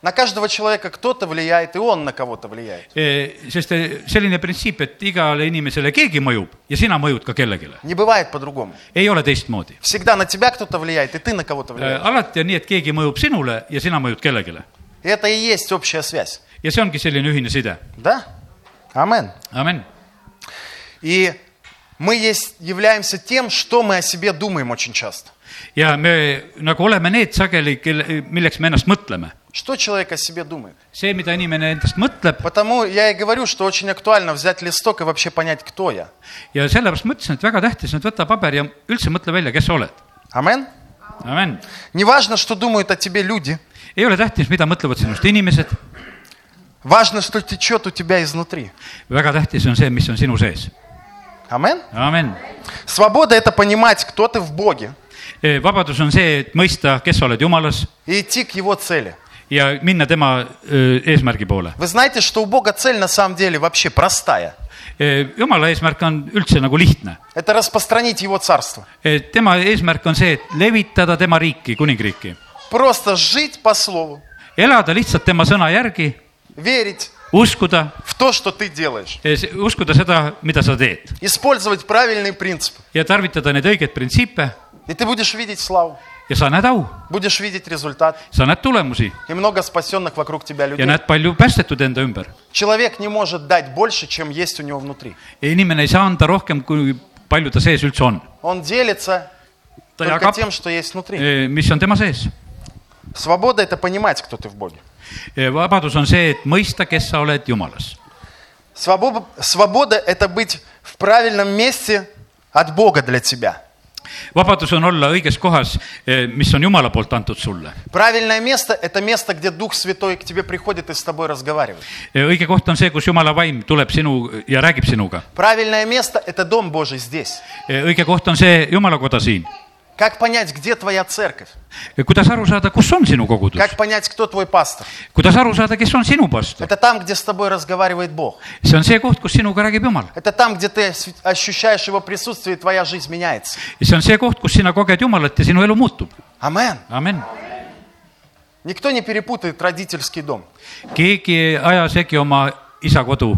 S1: На каждого человека кто-то влияет, и он на кого-то влияет.
S2: Eh, sest selline printsiip , et igale inimesele keegi mõjub ja sina mõjud ka kellelegi .
S1: Не бывает по-другому.
S2: ei ole teistmoodi .
S1: Всегда на тебя кто-то влияет, и ты на кого-то влияешь.
S2: alati on nii , et keegi mõjub sinule ja sina mõjud kellelegi .
S1: И это и есть общая связь.
S2: ja see ongi selline ühine side .
S1: Да? Амен.
S2: amen .
S1: И мы есть, являемся тем, что мы о себе думаем очень часто.
S2: ja me nagu oleme need sageli , kelle , milleks me ennast mõtleme
S1: Что человек о себе думает?
S2: see , mida inimene endast mõtleb
S1: Потому я и говорю, что очень актуально взять листок и вообще понять, кто я.
S2: ja sellepärast ma ütlesin , et väga tähtis , nüüd võta paber ja üldse mõtle välja , kes sa oled .
S1: Амен.
S2: amen .
S1: Не важно, что думают о тебе люди,
S2: ei ole tähtis , mida mõtlevad sinust inimesed ,
S1: важно, что течет у тебя изнутри.
S2: väga tähtis on see , mis on sinu sees .
S1: Амен.
S2: amen .
S1: Свобода – это понимать, кто ты в Боге
S2: vabadus on see , et mõista , kes sa oled Jumalas
S1: и идти к Его цели.
S2: ja minna tema öö, eesmärgi poole .
S1: Вы знаете, что у Бога цель на самом деле вообще простая.
S2: Jumala eesmärk on üldse nagu lihtne .
S1: Это распространить Его Царство.
S2: tema eesmärk on see , et levitada tema riiki , kuningriiki .
S1: Просто жить по Слову,
S2: elada lihtsalt tema sõna järgi ,
S1: верить
S2: uskuda ,
S1: в то, что ты делаешь.
S2: uskuda seda , mida sa teed
S1: Использовать правильные принципы.
S2: ja tarvitada neid õigeid printsiipe
S1: И ты будешь видеть славу.
S2: ja sa näed au ,
S1: Будешь видеть результат
S2: sa näed tulemusi
S1: и много спасенных вокруг тебя
S2: ja
S1: людей.
S2: näed palju päästetud enda ümber .
S1: Человек не может дать больше, чем есть у него внутри.
S2: inimene ei saa anda rohkem , kui palju ta sees üldse on ,
S1: Он делится
S2: Да
S1: только
S2: я кап-
S1: тем, что есть внутри.
S2: mis on tema sees .
S1: Свобода – это понимать, кто ты в Боге.
S2: vabadus on see , et mõista , kes sa oled Jumalas .
S1: Свобода, свобода – это быть в правильном месте от Бога для тебя.
S2: vabadus on olla õiges kohas , mis on Jumala poolt antud sulle .
S1: Правильное место – это место, где Дух Святой к тебе приходит и с тобой разговаривает.
S2: Eh, õige koht on see , kus Jumala vaim tuleb sinu ja räägib sinuga .
S1: Правильное место – это Дом Божий здесь.
S2: õige koht on see Jumala koda siin .
S1: Как понять, где твоя церковь?
S2: kuidas aru saada , kus on sinu kogudus ?
S1: Как понять, кто твой пастор?
S2: kuidas aru saada , kes on sinu pastor ?
S1: Это там, где с тобой разговаривает Бог.
S2: see on see koht , kus sinuga räägib Jumal .
S1: Это там, где ты ос- ощущаешь Его присутствие, и твоя жизнь меняется.
S2: ja see on see koht , kus sina koged Jumalat ja sinu elu muutub .
S1: Амен.
S2: amin .
S1: Никто не перепутает родительский дом.
S2: keegi ei aja segi oma isa kodu .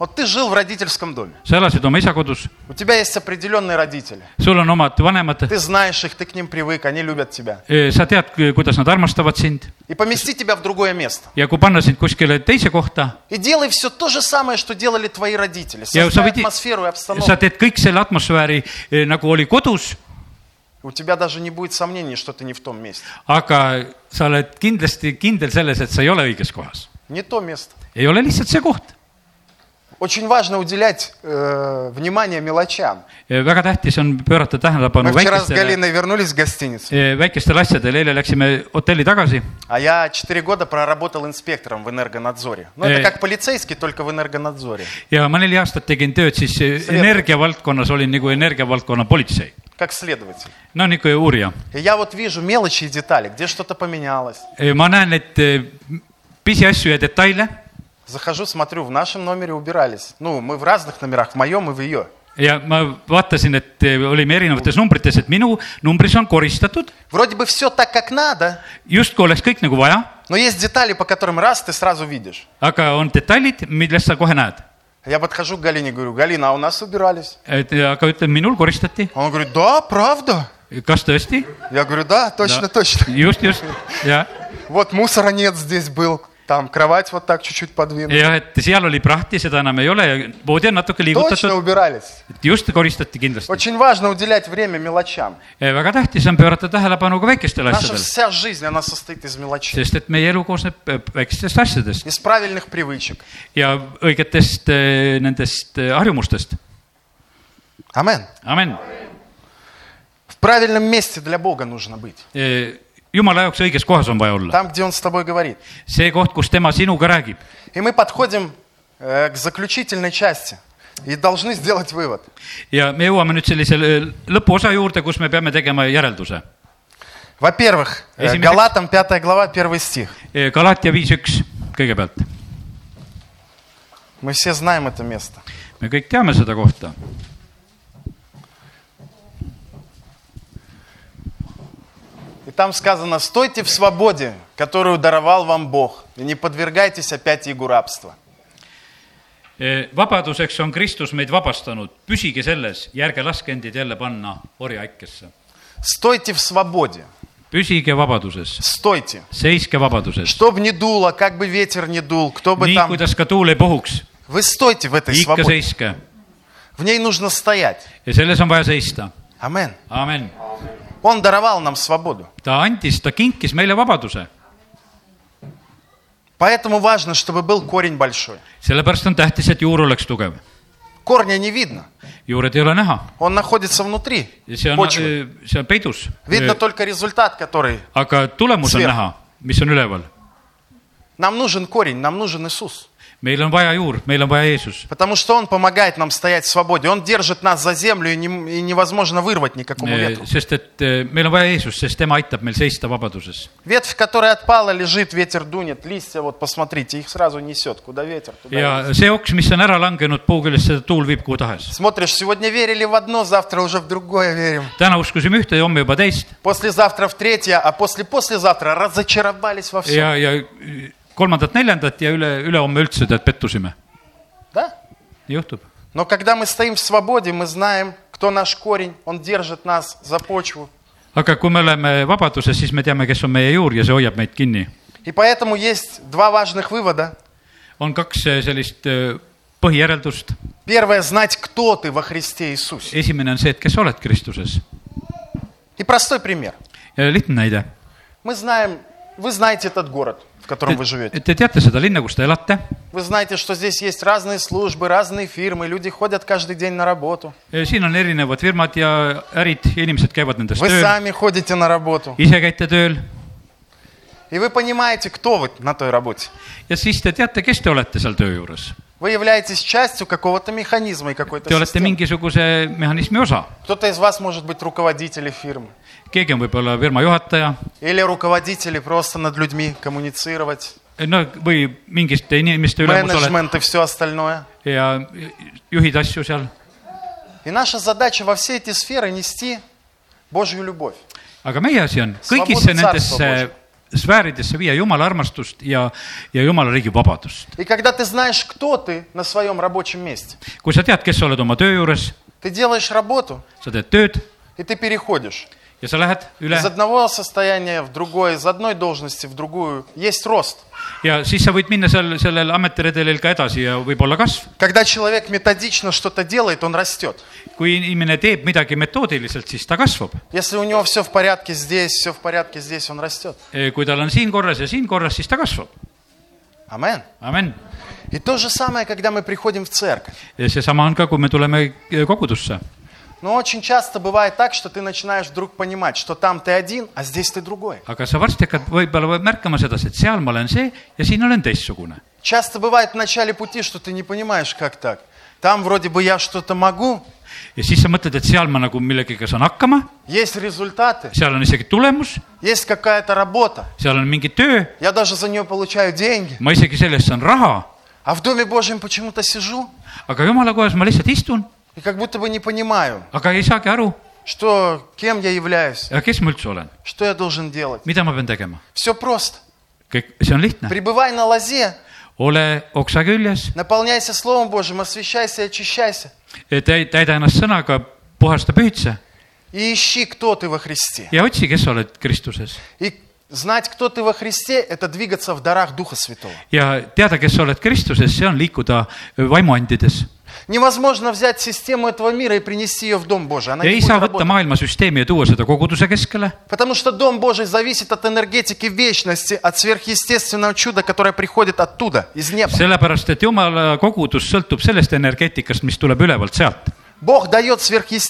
S1: Вот ты жил в родительском доме.
S2: sa elasid oma isa kodus ,
S1: У тебя есть определенные родители.
S2: sul on omad vanemad ,
S1: Ты знаешь их, ты к ним привык, они любят тебя.
S2: sa tead , kuidas nad armastavad sind
S1: И помести тебя в другое место.
S2: ja kui panna sind kuskile teise kohta
S1: И делай все то же самое, что делали твои родители.
S2: ja sa
S1: Создай
S2: võid ,
S1: атмосферу и
S2: sa
S1: обстановку.
S2: teed kõik selle atmosfääri eh, nagu oli kodus ,
S1: У тебя даже не будет сомнений, что ты не в том месте.
S2: aga sa oled kindlasti kindel selles , et sa ei ole õiges kohas .
S1: Не то место.
S2: ei ole lihtsalt see koht .
S1: Очень важно уделять э, внимание mелочам.
S2: Eh, väga tähtis on pöörata
S1: Мы
S2: tähelepanu
S1: вчера с
S2: väikestele ,
S1: Галиной вернулись в гостиницу,
S2: väikestele asjadele , eile läksime hotelli tagasi
S1: а я 4 года проработал инспектором в энергонадзоре. Ну, это
S2: Э.
S1: как полицейский, только в энергонадзоре.
S2: ja ma neli aastat tegin tööd , siis eh,
S1: Selge.
S2: energiavaldkonnas olin nagu energiavaldkonna politsei .
S1: Как следователь.
S2: no niisugune uurija .
S1: И я вот вижу мелочи и детали, где что-то поменялось.
S2: ma näen neid eh, pisiasju ja detaile
S1: Захожу, смотрю, в нашем номере убирались. Ну, мы в разных номерах, в моем и в ее.
S2: ja ma vaatasin , et eh, olime erinevates numbrites , et minu numbris on koristatud ,
S1: Вроде бы все так, как надо,
S2: justkui oleks kõik nagu vaja ,
S1: но есть детали, по которым раз ты сразу видишь.
S2: aga on detailid , millest sa kohe näed .
S1: Я подхожу к Галине, говорю, Галина, а у нас убирались.
S2: et eh, aga ütleme , minul koristati ,
S1: Она А говорит, да, правда.
S2: kas tõesti ?
S1: Я говорю, да, точно,
S2: Да.
S1: точно.
S2: just , just ja ,
S1: Вот мусора нет здесь был, там кровать вот так чуть-чуть подвинула.
S2: ja et seal oli prahti , seda enam ei ole , voodi on
S1: Точно
S2: natuke liigutatud ,
S1: убирались.
S2: et just koristati kindlasti .
S1: Очень важно уделять время mелочам.
S2: väga tähtis on pöörata tähelepanu ka väikestele
S1: Наша
S2: asjadele ,
S1: вся жизнь, она состоит из мелочей,
S2: sest et meie elu koosneb eh, väikestest asjadest
S1: из правильных привычек.
S2: ja õigetest eh, nendest eh, harjumustest .
S1: Амен.
S2: amin
S1: В правильном месте для Бога нужно быть.
S2: Äh, jumala jaoks õiges kohas on vaja olla ,
S1: Там, где Он с тобой говорит.
S2: see koht , kus tema sinuga räägib .
S1: И мы подходим э, к заключительной части и должны сделать вывод.
S2: ja me jõuame nüüd sellise l- lõpuosa juurde , kus me peame tegema järelduse .
S1: Во-первых, э,
S2: Если мы-
S1: Галатам 5 глава, 1 стих.
S2: Eh, Galatia viis üks kõigepealt ,
S1: Мы все знаем это место.
S2: me kõik teame seda kohta .
S1: И там сказано, стойте в свободе, которую даровал вам Бог, и не подвергайтесь опять игу рабства.
S2: Eh, vabaduseks on Kristus meid vabastanud , püsige selles ja ärge laske endid jälle panna orjaaikesse .
S1: Стойте в свободе,
S2: püsige vabaduses ,
S1: стойте.
S2: seiske vabaduses ,
S1: Что бы ни дуло, как бы ветер ни дул, кто бы
S2: nii
S1: там...
S2: kuidas ka tuul ei puhuks ,
S1: Вы стойте в этой
S2: ikka
S1: свободе.
S2: seiske
S1: В ней нужно стоять.
S2: ja selles on vaja seista .
S1: Амен.
S2: amin ,
S1: Он даровал нам свободу.
S2: ta andis , ta kinkis meile vabaduse
S1: Поэтому важно, чтобы был корень большой.
S2: sellepärast on tähtis , et juur oleks tugev .
S1: Корня не видно.
S2: juured ei ole näha
S1: Он находится внутри
S2: ja see on eh,
S1: почвы. ,
S2: see on peidus .
S1: Видно только результат, который...
S2: aga tulemus on
S1: Sfäär.
S2: näha , mis on üleval .
S1: Нам нужен корень, нам нужен Иисус.
S2: meil on vaja juur , meil on vaja Jeesus .
S1: Потому что Он помогает нам стоять в свободе. Он держит нас за землю, и, не- и невозможно вырвать никакому
S2: Э,
S1: ветру.
S2: sest et eh, meil on vaja Jeesus , sest tema aitab meil seista vabaduses .
S1: Ветвь, которая отпала, лежит, ветер дунет, листья, вот посмотрите, их сразу несет. Куда ветер, туда ветер.
S2: ja see oks , mis on ära langenud puu küljest , seda tuul viib kuhu tahes .
S1: Смотришь, сегодня верили в одно, завтра уже в другое верим.
S2: täna uskusime ühte ja homme juba teist
S1: Послезавтра в третье, а после-послезавтра разочаровались во всем.
S2: ja , ja kolmandat-neljandat ja üle , ülehomme üldse tead pettusime .
S1: Да?
S2: juhtub .
S1: Но когда мы стоим в свободе, мы знаем, кто наш корень, он держит нас за почву.
S2: aga kui me oleme vabaduses , siis me teame , kes on meie juur ja see hoiab meid kinni .
S1: И поэтому есть два важных вывода.
S2: on kaks eh, sellist eh, põhijäreldust .
S1: Первое – знать, кто ты во Христе Иисусе.
S2: esimene on see , et kes sa oled Kristuses .
S1: И простой пример.
S2: lihtne näide .
S1: Мы знаем, вы знаете этот город, в котором вы живете.
S2: Te teate seda linna , kus te elate ,
S1: Вы знаете, что здесь есть разные службы, разные фирмы, люди ходят каждый день на работу.
S2: Eh, siin on erinevad firmad ja ärid ja inimesed käivad nendes
S1: Вы
S2: tööl ,
S1: сами ходите на работу.
S2: ise käite tööl
S1: И вы понимаете, кто вы на той работе.
S2: ja siis te teate , kes te olete seal töö juures .
S1: Вы являетесь частью какого-то механизма и какой-то
S2: Te olete
S1: системы.
S2: mingisuguse mehhanismi osa ,
S1: Кто-то из вас может быть руководителем фирмы.
S2: keegi on võib-olla firma juhataja ,
S1: Или руководители просто над людьми коммуницировать,
S2: no või mingiste inimeste ülemus oled
S1: менеджмент и все остальное.
S2: ja juhid asju seal ,
S1: И наша задача во все эти сферы нести Божью любовь.
S2: aga meie asi on
S1: Svoboda
S2: kõigisse nendesse
S1: tsarstva
S2: sfääridesse viia Jumala armastust ja , ja Jumala riigi vabadust .
S1: И когда ты знаешь, кто ты на своем рабочем месте,
S2: kui sa tead , kes sa oled oma töö juures ,
S1: ты делаешь работу,
S2: sa teed tööd
S1: и ты переходишь
S2: ja sa lähed üle
S1: из одного состояния в другое, из одной должности в другую. Есть рост.
S2: ja siis sa võid minna seal sellel ametiredelil ka edasi ja võib-olla kasv .
S1: Когда человек методично что-то делает, он растет.
S2: kui inimene teeb midagi metoodiliselt , siis ta kasvab .
S1: Если у него все в порядке здесь, все в порядке здесь, он растет.
S2: Eh, kui tal on siin korras ja siin korras , siis ta kasvab .
S1: Амен.
S2: amen .
S1: И то же самое, когда мы приходим в церковь.
S2: seesama on ka , kui me tuleme eh, kogudusse .
S1: Но очень часто бывает так, что ты начинаешь вдруг понимать, что там ты один, а здесь ты другой.
S2: aga sa varsti hakkad võib-olla märkama sedasi , et seal ma olen see ja siin olen teistsugune .
S1: Часто бывает в начале пути, что ты не понимаешь, как так. Там вроде бы я что-то могу,
S2: ja siis sa mõtled , et seal ma nagu millegagi saan hakkama ,
S1: есть результаты,
S2: seal on isegi tulemus ,
S1: есть какая-то работа.
S2: seal on mingi töö ,
S1: Я даже за нее получаю деньги.
S2: ma isegi selle eest saan raha ,
S1: А в Доме Божьем почему-то сижу
S2: aga jumala kohas ma lihtsalt istun ,
S1: и как будто бы не понимаю,
S2: aga ei saagi aru ,
S1: что, кем я являюсь,
S2: kes ma üldse olen ,
S1: что я должен делать.
S2: mida ma pean tegema .
S1: Все просто.
S2: kõik , see on lihtne ,
S1: Пребывай на лозе,
S2: ole oksa küljes ,
S1: наполняйся Словом Божьим, освящайся и очищайся.
S2: täi- , täida ennast sõnaga , puhasta pühitse
S1: И ищи, кто ты во Христе.
S2: ja otsi , kes sa oled Kristuses
S1: И знать, кто ты во Христе, это двигаться в дарах Духа Святого.
S2: ja teada , kes sa oled Kristuses , see on liikuda vaimuandides .
S1: Невозможно взять систему этого мира и принести ее в Дом Божий. Она не
S2: ei
S1: будет
S2: saa võtta
S1: работать.
S2: maailmasüsteemi ja tuua seda koguduse keskele ,
S1: Потому что Дом Божий зависит от энергетики вечности, от сверхъестественного чуда, которое приходит оттуда, из неба.
S2: sellepärast et jumala kogudus sõltub sellest energeetikast , mis tuleb ülevalt sealt .
S1: Бог дает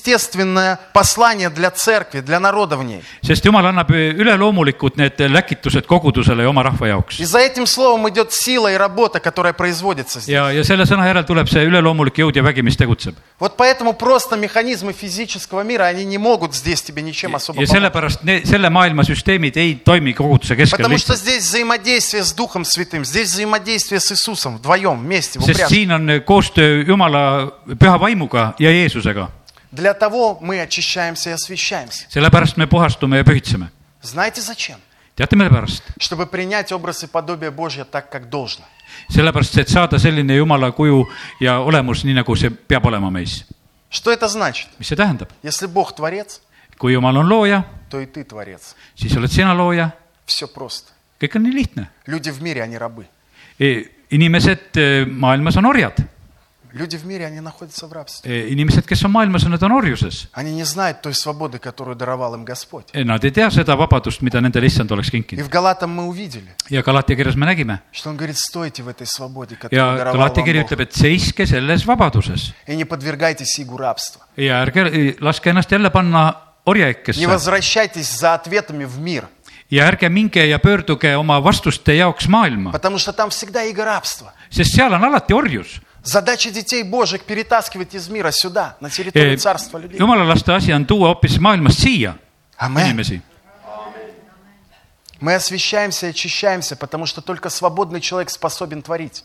S1: сверхъестественное послание для церкви, для народа в ней.
S2: sest jumal annab üleloomulikud need läkitused kogudusele ja oma rahva jaoks
S1: И . за этим словом идет сила и работа, которая производится здесь.
S2: ja , ja selle sõna järel tuleb see üleloomulik jõud ja vägi , mis tegutseb .
S1: Вот поэтому просто механизмы физического мира, они не могут здесь тебе ничем особо
S2: ja
S1: помочь.
S2: sellepärast ne, selle maailma süsteemid ei toimi koguduse keskel
S1: Потому что
S2: lihtsalt ,
S1: здесь взаимодействие с Духом Святым, здесь взаимодействие с Иисусом вдвоем, вместе, в
S2: sest
S1: упряжке.
S2: siin on koostöö Jumala püha vaimuga ja Jeesusega .
S1: Для того мы очищаемся и освящаемся.
S2: sellepärast me puhastume ja pühitseme .
S1: Знаете зачем?
S2: teate , mille pärast ?
S1: Чтобы принять образ и подобие Божье так, как должно.
S2: sellepärast , et saada selline Jumala kuju ja olemus , nii nagu see peab olema meis .
S1: Что это значит?
S2: mis see tähendab ?
S1: Если Бог творец,
S2: kui Jumal on looja ,
S1: то и ты творец.
S2: siis oled sina looja ,
S1: Все просто.
S2: kõik on nii lihtne .
S1: Люди в мире, они рабы.
S2: inimesed eh, maailmas on orjad .
S1: Люди в мире, они находятся в рабстве.
S2: inimesed , kes on maailmas , nad on orjuses .
S1: Они не знают той свободы, которую даровал им Господь.
S2: Nad ei tea seda vabadust , mida nendele issand oleks
S1: И
S2: kinkinud
S1: в Галатам мы увидели,
S2: ja Galatia kirjas me nägime
S1: что он говорит, стойте в этой свободе, которую
S2: ja
S1: даровал
S2: Galatia
S1: вам
S2: kiri
S1: Бог,
S2: ütleb , et seiske selles vabaduses
S1: и не подвергайтесь игу рабства.
S2: ja ärge e, laske ennast jälle panna
S1: Не
S2: orjaikesse
S1: возвращайтесь за ответами в мир,
S2: ja ärge minge ja pöörduge oma vastuste jaoks maailma ,
S1: потому что там всегда иго рабства.
S2: sest seal on alati orjus .
S1: Задача детей Божьих перетаскивать из мира сюда, на
S2: Э,
S1: территорию царства людей.
S2: Eh, jumala laste asi on tuua hoopis maailmast siia
S1: Амен.
S2: inimesi
S1: Мы освещаемся и очищаемся, потому что только свободный человек способен творить.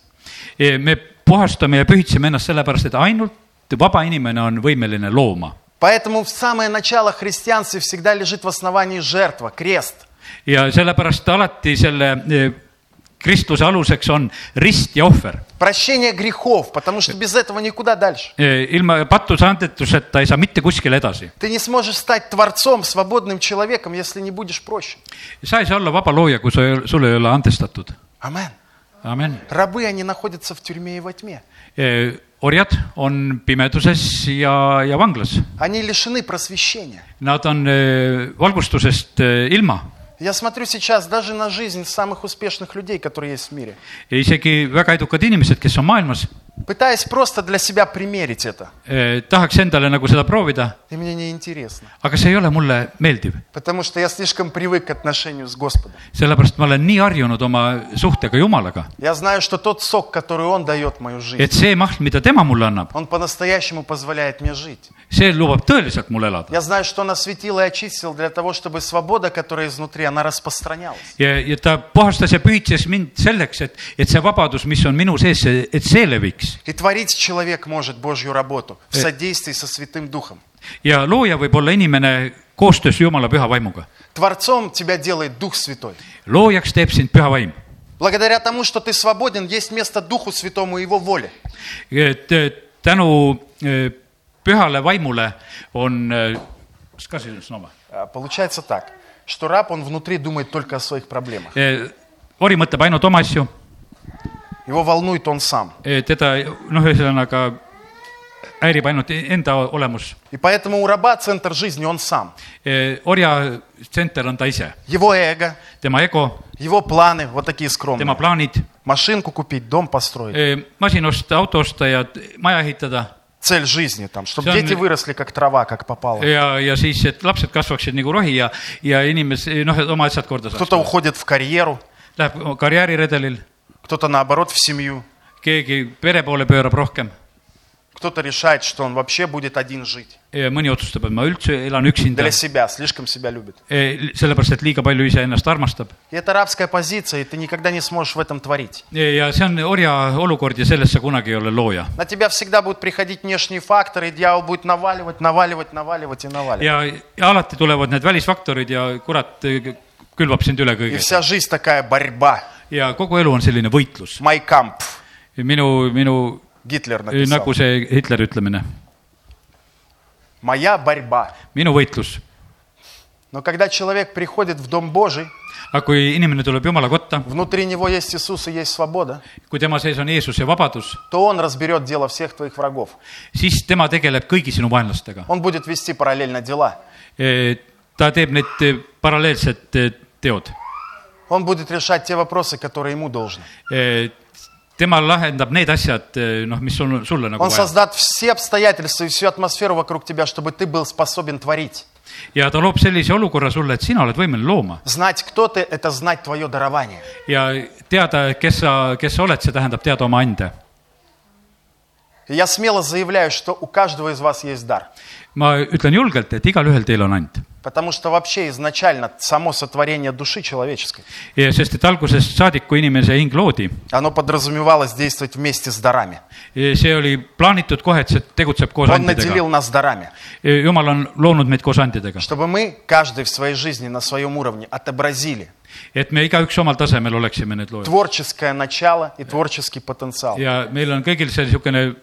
S2: Eh, me puhastame ja pühitseme ennast sellepärast , et ainult vaba inimene on võimeline looma
S1: Поэтому в самое начало христианства всегда лежит в основании жертва, крест.
S2: ja sellepärast alati selle eh, kristluse aluseks on rist ja ohver .
S1: Прощение грехов, потому что без этого никуда дальше.
S2: Eh, ilma pattuse andetuseta ei saa mitte kuskile edasi .
S1: Ты не сможешь стать творцом, свободным человеком, если не будешь прощен.
S2: sa ei saa olla vaba looja , kui sa , sul ei ole andestatud .
S1: Амен.
S2: amen .
S1: Рабы, они находятся в тюрьме и во тьме.
S2: orjad on pimeduses ja , ja vanglas .
S1: Они лишены просвещения.
S2: Nad on eh, valgustusest eh, ilma
S1: Я смотрю сейчас даже на жизнь самых успешных людей, которые есть в мире.
S2: ja isegi väga edukad inimesed , kes on maailmas ,
S1: Пытаясь просто для себя примерить это.
S2: tahaks endale nagu seda proovida ,
S1: И мне неинтересно.
S2: aga see ei ole mulle meeldiv ,
S1: Потому что я слишком привык к отношению с Господом.
S2: sellepärast ma olen nii harjunud oma suhtega Jumalaga ,
S1: Я знаю, что тот сок, который Он дает в мою жизнь,
S2: et see maht , mida tema mulle annab ,
S1: Он по-настоящему позволяет мне жить.
S2: see lubab tõeliselt mul elada .
S1: Я знаю, что Он осветил и очистил для того, чтобы свобода, которая изнутри, она распространялась.
S2: ja , ja ta puhastas ja pühitses mind selleks , et , et see vabadus , mis on minu sees , et see leviks .
S1: И творить человек может Божью работу в содействии со Святым Духом.
S2: ja looja võib olla inimene koostöös Jumala püha vaimuga .
S1: Творцом тебя делает Дух Святой.
S2: loojaks teeb sind püha vaim .
S1: Благодаря тому, что ты свободен, есть место Духу Святому и Его воле.
S2: et eh, tänu eh, pühale vaimule on , kas ka siin on sõna ?
S1: А, Получается так, что раб, он внутри думает только о своих проблемах.
S2: Eh, ori mõtleb ainult oma asju ,
S1: Его волнует он сам.
S2: teda noh , ühesõnaga häirib ainult enda olemus .
S1: И поэтому у раба центр жизни он сам.
S2: orja tsenter on ta ise ,
S1: Его эго,
S2: tema ego ,
S1: его планы, вот такие скромные.
S2: tema plaanid ,
S1: Машинку купить, дом построить.
S2: masin osta , auto osta ja t- maja ehitada
S1: Цель жизни там, чтобы
S2: Всё,
S1: дети
S2: ну- э,
S1: выросли как трава, как попало.
S2: ja , ja siis , et lapsed kasvaksid nagu rohi ja , ja inimes- , noh , et oma asjad korda
S1: Кто-то
S2: saaks .
S1: уходит в карьеру,
S2: Läheb karjääriredelil ,
S1: кто-то naоборот в семью,
S2: keegi pere poole pöörab rohkem
S1: кто-то решает, что он вообще будет один жить.
S2: Ja Eh, mõni otsustab , et ma üldse elan üksinda Eh,
S1: Для , себя, slишком себя любит.
S2: sellepärast et liiga palju iseennast armastab .
S1: И это рабская позиция, и ты никогда не сможешь в этом творить.
S2: ja see on orja olukord ja sellest sa kunagi ei ole looja .
S1: На тебя всегда будут приходить внешние факторы, и дьявол будет наваливать, наваливать, наваливать и наваливать.
S2: ja , ja alati tulevad need välisfaktorid ja kurat eh, külvab sind üle
S1: И
S2: kõige
S1: вся жизнь такая борьба.
S2: ja kogu elu on selline võitlus .
S1: Майкамп,
S2: minu , minu
S1: Гитлер
S2: eh,
S1: написал.
S2: nagu see Hitleri ütlemine ,
S1: Моя борьба.
S2: minu võitlus .
S1: Но когда человек приходит в Дом Божий,
S2: aga kui inimene tuleb Jumala kotta ,
S1: внутри него есть Иисус и есть свобода,
S2: kui tema sees on Jeesus ja vabadus ,
S1: то Он разберет дело всех твоих врагов.
S2: siis tema tegeleb kõigi sinu vaenlastega .
S1: Он будет вести параллельно дела.
S2: ta teeb need eh, paralleelsed eh, teod
S1: Он будет решать те вопросы, которые ему должны.
S2: E, tema lahendab need asjad , noh , mis sul , sulle nagu
S1: Он
S2: vaja
S1: создат все обстоятельства и всю атмosферу вокруг тебя, чтобы ты был способен творить.
S2: ja ta loob sellise olukorra sulle , et sina oled võimeline looma
S1: Знать, кто ты, это знать твое дарование.
S2: ja teada , kes sa , kes sa oled , see tähendab teada oma ande .
S1: И Я смело заявляю, что у каждого из вас есть дар.
S2: ma ütlen julgelt , et igalühel teil on and ,
S1: Потому что вообще изначально само сотворение души человеческой,
S2: sest et algusest saadik , kui inimese hing loodi ,
S1: оно подразумевалось действовать вместе с дарами.
S2: see oli plaanitud kohe , et see tegutseb koos
S1: Он
S2: andidega
S1: наделил . нас дарами,
S2: jumal on loonud meid koos andidega ,
S1: чтобы мы, каждый в своей жизни на своем уровне, отобразили
S2: et me igaüks omal tasemel oleksime need loojad
S1: творческое начало и творческий потенциал.
S2: ja meil on kõigil see niisugune ,